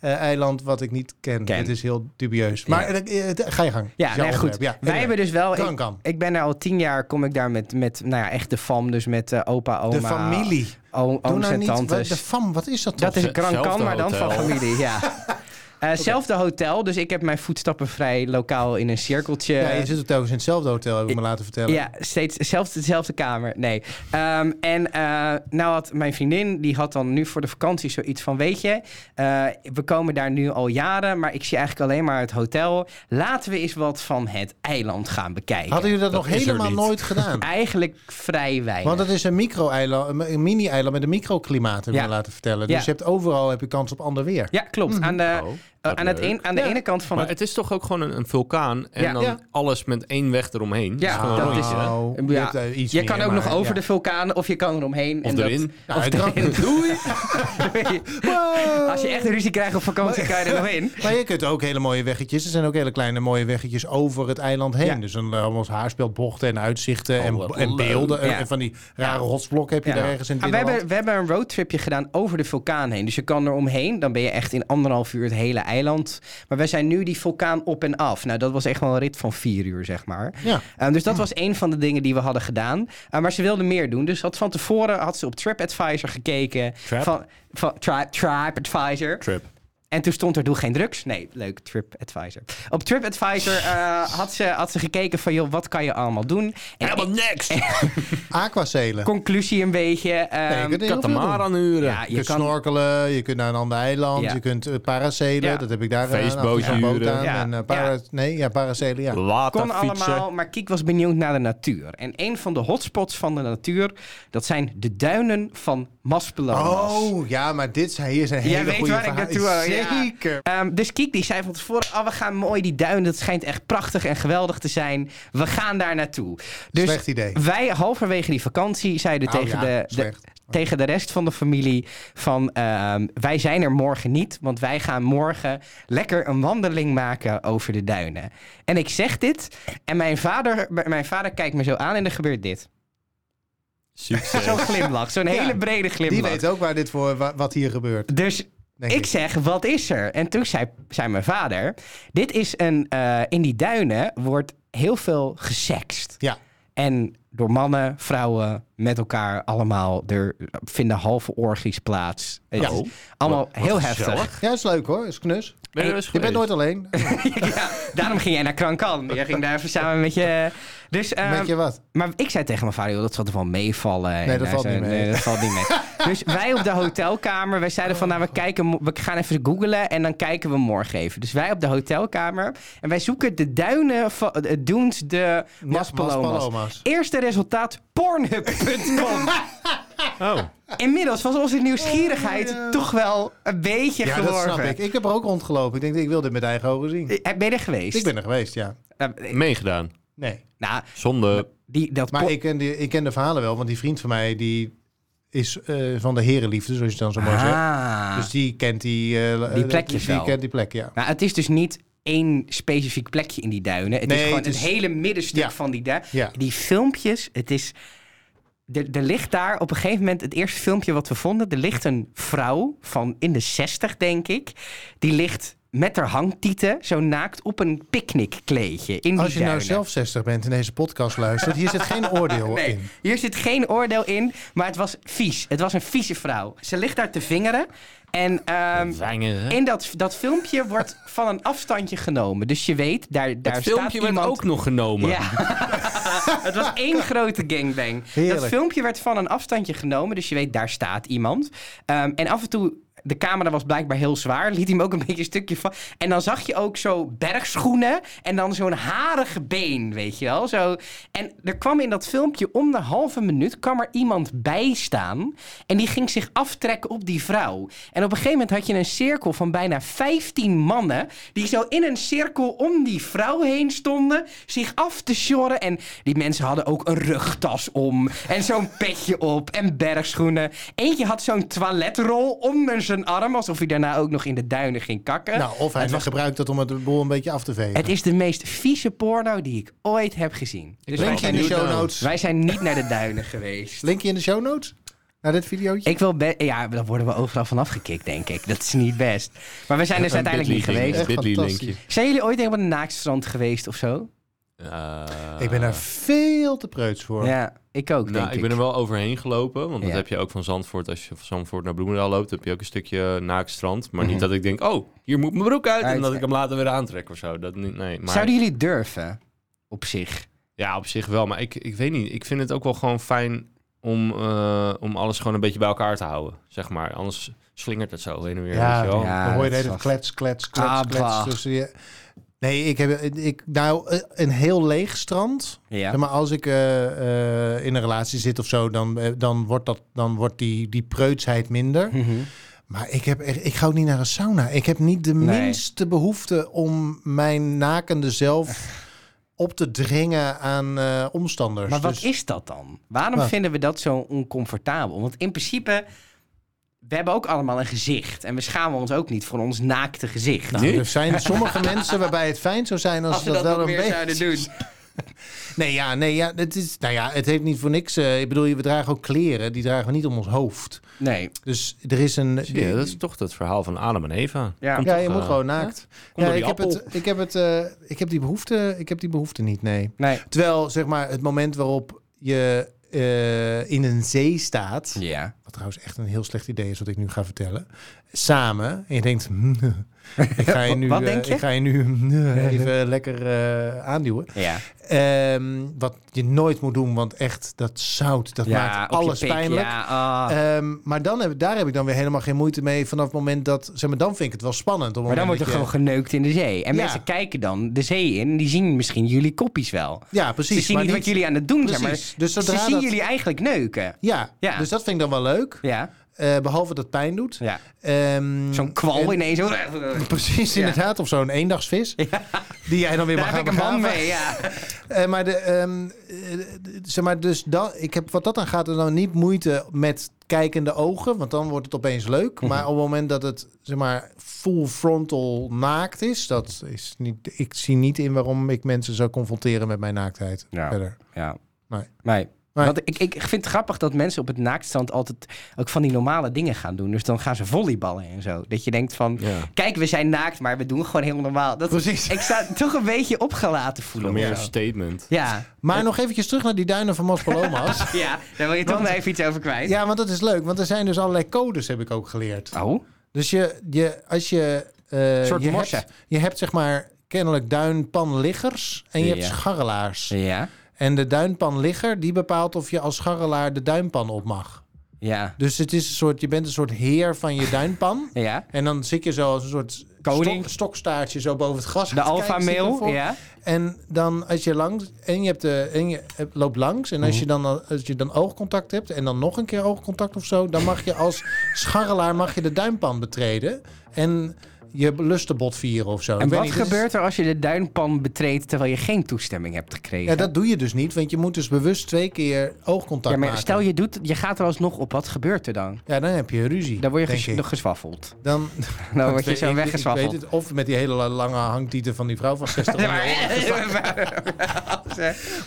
Speaker 2: eh, eiland wat ik niet ken.
Speaker 1: Ken.
Speaker 2: Het is heel dubieus. Maar eh, eh, ga je gang.
Speaker 1: Ja,
Speaker 2: Is jouw
Speaker 1: nee, goed.
Speaker 2: onderwerp. Ja,
Speaker 1: Wij hebben dus wel...
Speaker 2: Kan,
Speaker 1: ik,
Speaker 2: kan.
Speaker 1: ik ben daar al tien jaar, kom ik daar met, met nou ja, echt de fam. Dus met eh, opa, oma.
Speaker 2: De familie.
Speaker 1: o-
Speaker 2: Doe
Speaker 1: ooms
Speaker 2: nou
Speaker 1: en
Speaker 2: niet, wat-
Speaker 1: tantes.
Speaker 2: de fam, wat is dat toch?
Speaker 1: dat is
Speaker 3: Hetzelfde
Speaker 1: Gran Can, maar dan van
Speaker 3: hotel.
Speaker 1: familie, ja. Eh, Zelfde hotel, dus ik heb mijn voetstappen vrij lokaal in een cirkeltje.
Speaker 2: Ja, je zit ook telkens in hetzelfde hotel, heb ik me laten vertellen.
Speaker 1: Ja, steeds zelfde, dezelfde kamer. Nee. Ehm, en eh, nou had mijn vriendin, die had dan nu voor de vakantie zoiets van... weet je, eh, we komen daar nu al jaren, maar ik zie eigenlijk alleen maar het hotel. Laten we eens wat van het eiland gaan bekijken.
Speaker 2: Hadden jullie dat,
Speaker 3: Dat
Speaker 2: nog
Speaker 3: is er
Speaker 2: helemaal
Speaker 3: niet.
Speaker 2: nooit gedaan?
Speaker 1: Eigenlijk vrij weinig.
Speaker 2: Want het is een micro-eiland, een mini-eiland met een microklimaat, heb ik
Speaker 1: Ja.
Speaker 2: me laten vertellen.
Speaker 1: Ja.
Speaker 2: Dus je hebt overal heb je kans op ander weer.
Speaker 1: Ja, klopt. Aan de,
Speaker 3: Oh,
Speaker 1: eh,
Speaker 3: wat
Speaker 1: aan het
Speaker 3: leuk.
Speaker 1: een- aan de
Speaker 2: Ja.
Speaker 1: ene kant van
Speaker 3: Maar
Speaker 1: het...
Speaker 3: het is toch ook gewoon een, een vulkaan en
Speaker 1: Ja.
Speaker 3: dan
Speaker 2: Ja.
Speaker 3: alles met één weg eromheen.
Speaker 1: Ja,
Speaker 3: gewoon
Speaker 1: dat
Speaker 3: een
Speaker 1: is-
Speaker 3: rondje.
Speaker 2: Nou,
Speaker 1: Ja.
Speaker 2: je hebt, eh, iets
Speaker 1: Je
Speaker 2: meer,
Speaker 1: kan ook nog
Speaker 2: maar,
Speaker 1: over
Speaker 2: ja.
Speaker 1: de vulkaan of je kan eromheen.
Speaker 3: Of
Speaker 1: en dat-
Speaker 3: erin.
Speaker 2: Nou, het kan-
Speaker 1: Doei!
Speaker 2: Wow.
Speaker 1: Als je echt een ruzie krijgt op vakantie, kan je er nog in.
Speaker 2: Maar je kunt ook hele mooie weggetjes. Er zijn ook hele kleine mooie weggetjes over het eiland heen.
Speaker 1: Ja.
Speaker 2: Dus dan eh, allemaal haarspeldbochten en uitzichten
Speaker 3: Oh,
Speaker 2: en,
Speaker 3: wat
Speaker 2: en
Speaker 3: leuk.
Speaker 2: beelden.
Speaker 1: Ja.
Speaker 2: En van die rare rotsblokken heb je
Speaker 1: Ja.
Speaker 2: daar ergens in het
Speaker 1: Ah, we,
Speaker 2: binnenland.
Speaker 1: hebben, we hebben een roadtripje gedaan over de vulkaan heen. Dus je kan er omheen. Dan ben je echt in anderhalf uur het hele eiland. Maar wij zijn nu die vulkaan op en af. Nou, dat was echt wel een rit van vier uur, zeg maar.
Speaker 2: Ja.
Speaker 1: Ehm, dus dat was een van de dingen die we hadden gedaan. Eh, maar ze wilde meer doen. Dus had van tevoren had ze op TripAdvisor gekeken.
Speaker 3: Trap?
Speaker 1: Van, van, tri, TripAdvisor.
Speaker 3: Trip.
Speaker 1: En toen stond er doe geen drugs. Nee, leuk, TripAdvisor. Op TripAdvisor eh, had, ze, had ze gekeken van... joh, wat kan je allemaal doen? En
Speaker 3: Helemaal niks!
Speaker 2: Aquacelen.
Speaker 1: conclusie een beetje.
Speaker 2: je
Speaker 1: ehm,
Speaker 2: kunt heel veel doen.
Speaker 3: Katamaran huren.
Speaker 1: ja,
Speaker 2: Je,
Speaker 1: je
Speaker 2: kunt
Speaker 1: kan
Speaker 2: snorkelen, je kunt naar een ander eiland,
Speaker 1: Ja.
Speaker 2: je kunt eh, paracelen,
Speaker 1: Ja.
Speaker 2: dat heb ik daar
Speaker 3: Feestbootje
Speaker 2: aan, boot
Speaker 3: huren.
Speaker 2: aan.
Speaker 1: Ja.
Speaker 2: En, eh, para- Nee, ja, paracelen, ja.
Speaker 1: kon
Speaker 3: Waterfietsen.
Speaker 1: allemaal, maar Kiek was benieuwd naar de natuur. En een van de hotspots van de natuur, dat zijn de duinen van Maspeloomas.
Speaker 2: Oh, ja, maar dit zijn, hier zijn
Speaker 1: Jij
Speaker 2: hele
Speaker 1: weet
Speaker 2: goede
Speaker 1: waar ik
Speaker 2: verhalen.
Speaker 1: naartoe wou, ja.
Speaker 2: Zeker.
Speaker 1: Ehm, dus Kiek die zei van tevoren, oh, we gaan mooi die duinen, dat schijnt echt prachtig en geweldig te zijn. We gaan daar naartoe. Dus
Speaker 2: Slecht idee.
Speaker 1: wij halverwege die vakantie zeiden
Speaker 2: Nou
Speaker 1: tegen,
Speaker 2: ja,
Speaker 1: de, de,
Speaker 2: slecht.
Speaker 1: tegen de rest van de familie van ehm, wij zijn er morgen niet, want wij gaan morgen lekker een wandeling maken over de duinen. En ik zeg dit en mijn vader, m- mijn vader kijkt me zo aan en er gebeurt dit.
Speaker 3: Succes.
Speaker 1: Zo'n glimlach, zo'n hele brede
Speaker 2: Die
Speaker 1: glimlach.
Speaker 2: weet ook waar dit voor, wa- wat hier gebeurt.
Speaker 1: Dus
Speaker 2: Denk
Speaker 1: ik,
Speaker 2: ik.
Speaker 1: zeg, wat is er? En toen zei, zei mijn vader, dit is een, eh, in die duinen wordt heel veel gesext.
Speaker 2: Ja.
Speaker 1: En door mannen, vrouwen, met elkaar allemaal. Er vinden halve orgies plaats. Het
Speaker 2: Ja.
Speaker 1: is allemaal
Speaker 3: Wat- wat
Speaker 1: heel
Speaker 3: gezellig.
Speaker 1: heftig.
Speaker 2: Ja, is leuk hoor. Is knus.
Speaker 3: Ben je er eens
Speaker 2: Je bent
Speaker 3: geweest?
Speaker 2: nooit alleen.
Speaker 1: ja, daarom ging jij naar Krankan. Jij ging daar even samen met je... Dus, ehm,
Speaker 2: Weet je wat?
Speaker 1: Maar ik zei tegen mijn vader, joh, dat zal er wel meevallen. En
Speaker 2: dat
Speaker 1: hij
Speaker 2: valt
Speaker 1: zei,
Speaker 2: niet mee.
Speaker 1: Nee, dat valt niet mee. dus wij op de hotelkamer, wij zeiden van,
Speaker 2: Oh.
Speaker 1: nou, we, kijken, mo- we gaan even googlen en dan kijken we morgen even. Dus wij op de hotelkamer en wij zoeken de duinen van eh, Dunes de Maspalomas.
Speaker 2: Maspalomas.
Speaker 1: Eerste resultaat, pornhub.com.
Speaker 3: Oh.
Speaker 1: Inmiddels was onze nieuwsgierigheid toch wel een beetje
Speaker 2: Ja, dat
Speaker 1: geworven.
Speaker 2: snap ik. Ik heb er ook rondgelopen. Ik denk, ik wil dit met eigen ogen zien.
Speaker 1: Eh, Ben je er geweest?
Speaker 2: Ik ben er geweest, ja.
Speaker 1: Nou,
Speaker 3: Meegedaan.
Speaker 2: Nee.
Speaker 1: nou,
Speaker 3: Zonde.
Speaker 1: die, dat
Speaker 2: Maar
Speaker 1: por-
Speaker 2: ik ken, de, ik ken de verhalen wel, want die vriend van mij die is eh, van de herenliefde, zoals je dan zo mooi zegt.
Speaker 1: Ah.
Speaker 2: Dus die kent die, eh,
Speaker 1: Die plekjes
Speaker 2: die,
Speaker 1: wel.
Speaker 2: kent die plek, ja.
Speaker 1: Maar het is dus niet één specifiek plekje in die duinen. Het is
Speaker 2: Nee,
Speaker 1: gewoon
Speaker 2: het
Speaker 1: het,
Speaker 2: is-
Speaker 1: hele middenstuk
Speaker 2: Ja.
Speaker 1: van die duinen.
Speaker 2: Ja.
Speaker 1: Die filmpjes, het is... Er, er ligt daar op een gegeven moment het eerste filmpje wat we vonden. Er ligt een vrouw van in de 60, denk ik. Die ligt met haar hangtieten zo naakt op een picknickkleedje in die
Speaker 2: Als je nou
Speaker 1: duinen.
Speaker 2: zelf 60 bent en deze podcast luistert, hier zit geen oordeel
Speaker 1: Nee,
Speaker 2: in.
Speaker 1: hier zit geen oordeel in, maar het was vies. Het was een vieze vrouw. Ze ligt daar te vingeren en ehm,
Speaker 3: Zangen.
Speaker 1: in dat, dat filmpje wordt van een afstandje genomen. Dus je weet, daar, daar
Speaker 3: Het
Speaker 1: staat
Speaker 3: filmpje werd
Speaker 1: iemand...
Speaker 3: ook nog genomen.
Speaker 1: Ja. het was één grote gangbang.
Speaker 2: Heerlijk.
Speaker 1: Dat filmpje werd van een afstandje genomen, dus je weet, daar staat iemand. Ehm, en af en toe, de camera was blijkbaar heel zwaar, liet hij hem ook een beetje een stukje van. En dan zag je ook zo bergschoenen en dan zo'n harige been, weet je wel. Zo. En er kwam in dat filmpje om de halve minuut, kwam er iemand bij staan. En die ging zich aftrekken op die vrouw. En op een gegeven moment had je een cirkel van bijna 15 mannen. die zo in een cirkel om die vrouw heen stonden. zich af te sjorren. En die mensen hadden ook een rugtas om. en zo'n petje op. en bergschoenen. Eentje had zo'n toiletrol onder zijn arm. alsof hij daarna ook nog in de duinen ging kakken.
Speaker 2: Nou, of hij gebruikt dat om het boel een beetje af te vegen.
Speaker 1: Het is de meest vieze porno die ik ooit heb gezien. Dus wij
Speaker 2: Linkje
Speaker 1: zijn,
Speaker 2: in de
Speaker 3: nu
Speaker 2: show
Speaker 3: nou.
Speaker 2: notes.
Speaker 1: wij zijn niet naar de duinen geweest.
Speaker 2: Linkje in de show notes? Naar dit videootje?
Speaker 1: Ik wil be- ja, daar worden we overal vanaf gekikt, denk ik. Dat is niet best. Maar we zijn dus uiteindelijk niet geweest.
Speaker 2: Echt
Speaker 3: Bitly linkje.
Speaker 2: fantastisch.
Speaker 1: Zijn jullie ooit helemaal naar Naakstrand geweest of zo?
Speaker 3: Eh,
Speaker 2: ik ben daar veel te preuts voor.
Speaker 1: Ah. Ja, ik ook, denk
Speaker 3: Nou, ik ben er wel overheen gelopen, want dat
Speaker 1: Ja.
Speaker 3: heb je ook van Zandvoort. Als je van Zandvoort naar Bloemendaal loopt, heb je ook een stukje naakt strand. Maar niet
Speaker 1: Mhm.
Speaker 3: dat ik denk, oh, hier moet mijn broek uit, en
Speaker 1: Uit,
Speaker 3: dat
Speaker 1: ja.
Speaker 3: ik hem later weer aantrek of zo. Dat niet, nee, maar...
Speaker 1: Zouden jullie durven? Op zich.
Speaker 3: Ja, op zich wel. Maar ik, ik weet niet. Ik vind het ook wel gewoon fijn om, eh, om alles gewoon een beetje bij elkaar te houden. Zeg maar. Anders slingert het zo heen en weer.
Speaker 2: Ja,
Speaker 3: weet je wel.
Speaker 1: ja.
Speaker 2: dan hoor je de
Speaker 1: dat
Speaker 2: hele tijd
Speaker 1: is
Speaker 2: klets, klets, klets,
Speaker 1: Ah,
Speaker 2: klets
Speaker 1: bah.
Speaker 2: tussen je. Nee, ik heb ik, nou, eh, een heel leeg strand.
Speaker 1: Ja.
Speaker 2: Zeg maar als ik eh, eh, in een relatie zit of zo, dan, eh, dan wordt, dat, dan wordt die, die preutsheid minder.
Speaker 1: Mhm.
Speaker 2: Maar ik, heb, echt- ik ga ook niet naar een sauna. Ik heb niet de
Speaker 1: Nee.
Speaker 2: minste behoefte om mijn nakende zelf op te dringen aan eh, omstanders.
Speaker 1: Maar wat
Speaker 2: Dus-
Speaker 1: is dat dan? Waarom
Speaker 2: Wat?
Speaker 1: vinden we dat zo oncomfortabel? Want in principe, we hebben ook allemaal een gezicht. En we schamen ons ook niet voor ons naakte gezicht.
Speaker 2: Nou, er zijn sommige mensen waarbij het fijn zou zijn als,
Speaker 1: als we
Speaker 2: ze
Speaker 1: dat,
Speaker 2: dat, wel
Speaker 1: nog
Speaker 2: een
Speaker 1: meer
Speaker 2: beetje...
Speaker 1: zouden doen.
Speaker 2: Nee, ja, nee, ja, het is, nou ja, het heeft niet voor niks. eh, ik bedoel, we dragen ook kleren, die dragen we niet om ons hoofd.
Speaker 1: Nee.
Speaker 2: Dus er is een.
Speaker 3: Zie je, dat is toch dat verhaal van Adam en Eva.
Speaker 1: Ja.
Speaker 3: Komt
Speaker 2: ja,
Speaker 3: toch,
Speaker 2: je moet
Speaker 3: eh,
Speaker 2: gewoon naakt.
Speaker 3: Kom
Speaker 2: Ja,
Speaker 3: door die
Speaker 2: ik, heb
Speaker 3: appel.
Speaker 2: het, ik, heb het, eh, ik heb die behoefte, ik heb die behoefte niet, nee.
Speaker 1: Nee.
Speaker 2: Terwijl, zeg maar, het moment waarop je eh, in een zee staat,
Speaker 1: Ja.
Speaker 2: wat trouwens echt een heel slecht idee is wat ik nu ga vertellen, samen, en je denkt, "Hmm, ik ga je nu,
Speaker 1: Wat
Speaker 2: eh,
Speaker 1: denk je?
Speaker 2: Ik ga je nu hmm, even lekker eh, aanduwen.
Speaker 1: Ja.
Speaker 2: Ehm, wat je nooit moet doen, want echt, dat zout, dat maakt
Speaker 1: op je
Speaker 2: alles
Speaker 1: pik,
Speaker 2: pijnlijk.
Speaker 1: Ja, ah.
Speaker 2: Ehm, maar dan heb, daar heb ik dan weer helemaal geen moeite mee vanaf het moment dat... Zeg maar, dan vind ik het wel spannend. Op het
Speaker 1: maar dan wordt
Speaker 2: moment
Speaker 1: er gewoon
Speaker 2: dat
Speaker 1: geneukt in de zee. En
Speaker 2: Ja.
Speaker 1: mensen kijken dan de zee in. en Die zien misschien jullie koppies wel.
Speaker 2: je- Ja, precies.
Speaker 1: ze zien
Speaker 2: maar
Speaker 1: niet, wat jullie aan het doen zijn. Maar
Speaker 2: Precies. Dus
Speaker 1: ze
Speaker 2: zodra
Speaker 1: zien
Speaker 2: dat-
Speaker 1: jullie eigenlijk neuken.
Speaker 2: Ja,
Speaker 1: Ja.
Speaker 2: dus dat vind ik dan wel leuk.
Speaker 1: Ja.
Speaker 2: Eh, behalve dat pijn doet.
Speaker 1: ja.
Speaker 2: Ehm,
Speaker 1: Zo'n kwal
Speaker 2: en-
Speaker 1: ineens. Daar
Speaker 2: Precies,
Speaker 1: Ja.
Speaker 2: inderdaad. Of zo'n eendagsvis. Die jij dan weer mag
Speaker 1: heb ik
Speaker 2: gaan
Speaker 1: een band
Speaker 2: begraven.
Speaker 1: mee. Ja.
Speaker 2: Eh, maar, de, ehm, eh, d- zeg maar, dus dan, ik heb wat dat dan gaat, er dan niet moeite met kijkende ogen, want dan wordt het opeens
Speaker 1: Mhm.
Speaker 2: leuk. Maar op het moment dat het zeg maar full frontal naakt is, dat is niet. Ik zie niet in waarom ik mensen zou confronteren met mijn naaktheid.
Speaker 1: Ja.
Speaker 2: Verder.
Speaker 1: Ja.
Speaker 2: Nee.
Speaker 1: Nee.
Speaker 2: Nee.
Speaker 1: Want ik, ik vind het grappig dat mensen op het naaktstand altijd ook van die normale dingen gaan doen. Dus dan gaan ze volleyballen en zo. Dat je denkt van,
Speaker 3: Ja.
Speaker 1: kijk, we zijn naakt, maar we doen gewoon heel normaal. Dat,
Speaker 2: Precies.
Speaker 1: Ik sta toch een beetje opgelaten voelen.
Speaker 3: Nog meer
Speaker 1: of
Speaker 3: een
Speaker 1: zo.
Speaker 3: statement.
Speaker 1: Ja,
Speaker 2: Maar nog eventjes terug naar die duinen van Maspalomas.
Speaker 1: ja, daar wil je toch nog even iets over kwijt.
Speaker 2: ja, want dat is leuk, want er zijn dus allerlei codes, heb ik ook geleerd.
Speaker 1: Oh,
Speaker 2: Dus je, je, als je. eh,
Speaker 1: soort
Speaker 2: je
Speaker 1: morsen.
Speaker 2: hebt, je hebt zeg maar kennelijk duinpanliggers en je hebt
Speaker 1: Ja.
Speaker 2: scharrelaars.
Speaker 1: ja,
Speaker 2: En de duinpanligger, die bepaalt of je als scharrelaar de duinpan op mag.
Speaker 1: ja,
Speaker 2: Dus het is een soort, je bent een soort heer van je duinpan.
Speaker 1: ja.
Speaker 2: En dan zit je zo als een soort
Speaker 1: Koning.
Speaker 2: stok- stokstaartje zo boven het gras.
Speaker 1: De
Speaker 2: aan het
Speaker 1: alfa
Speaker 2: kijken, zit
Speaker 1: mail,
Speaker 2: ervoor.
Speaker 1: ja.
Speaker 2: En dan als je langs, en je, hebt de, en je hebt- loopt langs. En als
Speaker 1: Mhm.
Speaker 2: je, dan, als je dan oogcontact hebt en dan nog een keer oogcontact of zo. Dan mag je als scharrelaar mag je de duinpan betreden. En je lustenbod vieren of zo. Ik
Speaker 1: En
Speaker 2: weet
Speaker 1: wat
Speaker 2: niet, dit is-
Speaker 1: gebeurt er als je de duinpan betreedt terwijl je geen toestemming hebt gekregen?
Speaker 2: Ja, dat doe je dus niet. Want je moet dus bewust twee keer oogcontact
Speaker 1: Ja, maar
Speaker 2: maken.
Speaker 1: stel je doet, je gaat er alsnog op, wat gebeurt er dan?
Speaker 2: Ja, dan heb je ruzie.
Speaker 1: Dan word je
Speaker 2: denk
Speaker 1: ges-
Speaker 2: ik.
Speaker 1: nog gezwaffeld.
Speaker 2: Dan
Speaker 1: Dan word je
Speaker 2: Ik-
Speaker 1: zo
Speaker 2: ik- ik
Speaker 1: weggezwaffeld.
Speaker 2: weet het. Of met die hele lange hangtieten van die vrouw van 60
Speaker 1: Ja,
Speaker 2: jaar.
Speaker 1: maar-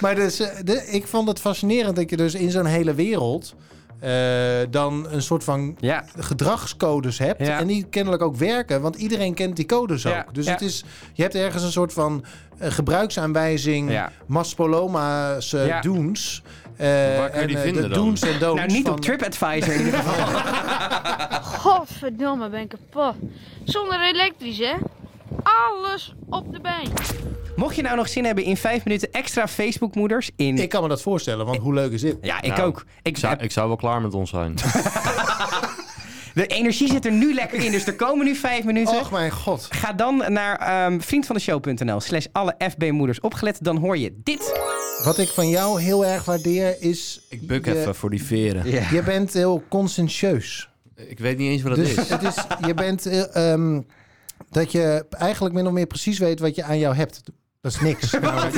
Speaker 2: Maar dus, eh, de- ik vond het fascinerend dat je dus in zo'n hele wereld... eh, dan een soort van
Speaker 1: ja,
Speaker 2: gedragscodes hebt.
Speaker 1: Ja.
Speaker 2: En die kennelijk ook werken. Want iedereen kent die codes
Speaker 1: Ja,
Speaker 2: ook. Dus
Speaker 1: ja.
Speaker 2: het is, je hebt ergens een soort van eh, gebruiksaanwijzing...
Speaker 1: Ja.
Speaker 2: Maspoloma's eh,
Speaker 1: Ja.
Speaker 2: doens. eh,
Speaker 3: Waar kun je
Speaker 2: en,
Speaker 3: die
Speaker 2: eh,
Speaker 3: vinden
Speaker 2: de
Speaker 3: dan?
Speaker 2: doens en don'ts.
Speaker 1: nou niet
Speaker 2: van-
Speaker 1: op TripAdvisor in ieder geval.
Speaker 4: Godverdomme, ben ik kapot. Zonder elektrisch, hè? Alles op de been.
Speaker 1: Mocht je nou nog zin hebben in vijf minuten extra Facebookmoeders in...
Speaker 2: Ik kan me dat voorstellen, want hoe leuk is dit?
Speaker 1: ja, ik
Speaker 3: Nou,
Speaker 1: ook. Ik,
Speaker 3: Ik zou, ik zou wel klaar met ons zijn.
Speaker 1: De energie zit er nu lekker in, dus er komen nu vijf minuten.
Speaker 2: Och mijn god.
Speaker 1: Ga dan naar ehm, vriendvandeshow.nl slash alle FB-moeders opgelet. Dan hoor je dit.
Speaker 2: Wat ik van jou heel erg waardeer is...
Speaker 3: Ik buk
Speaker 2: je-
Speaker 3: even voor die veren.
Speaker 2: Je bent heel conscientieus.
Speaker 3: Ik weet niet eens wat het
Speaker 2: Dus
Speaker 3: is.
Speaker 2: het is, je bent eh, ehm, dat je eigenlijk min of meer precies weet wat je aan jou hebt. Dat is niks.
Speaker 3: Nou,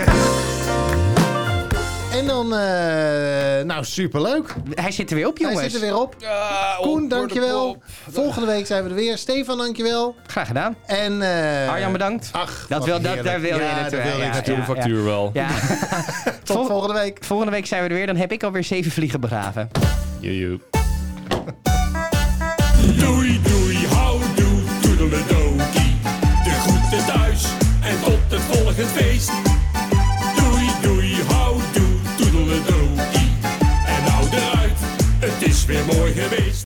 Speaker 2: en dan, eh, nou superleuk.
Speaker 1: Hij zit er weer op, jongens.
Speaker 2: Hij zit er weer op. Koen, dankjewel. Volgende week zijn we er weer. Stefan, dankjewel.
Speaker 1: Graag gedaan.
Speaker 2: En eh
Speaker 3: Ah,
Speaker 1: Arjan, bedankt.
Speaker 2: Ach,
Speaker 1: Dat
Speaker 2: wat
Speaker 1: wil, dat,
Speaker 2: heerlijk.
Speaker 1: daar wil
Speaker 2: ja,
Speaker 1: je naartoe.
Speaker 2: dat wil ik
Speaker 1: ja,
Speaker 2: natuurlijk.
Speaker 3: Stuur de
Speaker 1: ja, ja.
Speaker 3: factuur wel.
Speaker 1: Ja.
Speaker 2: Tot
Speaker 1: Vol-
Speaker 2: volgende week.
Speaker 1: Volgende week zijn we er weer. Dan heb ik alweer zeven vliegen begraven.
Speaker 3: Joejoe.
Speaker 6: Doei, doei, houdoe, toedeledokie. De groeten thuis en tot het volgende feest. Doei. weer mooi geweest.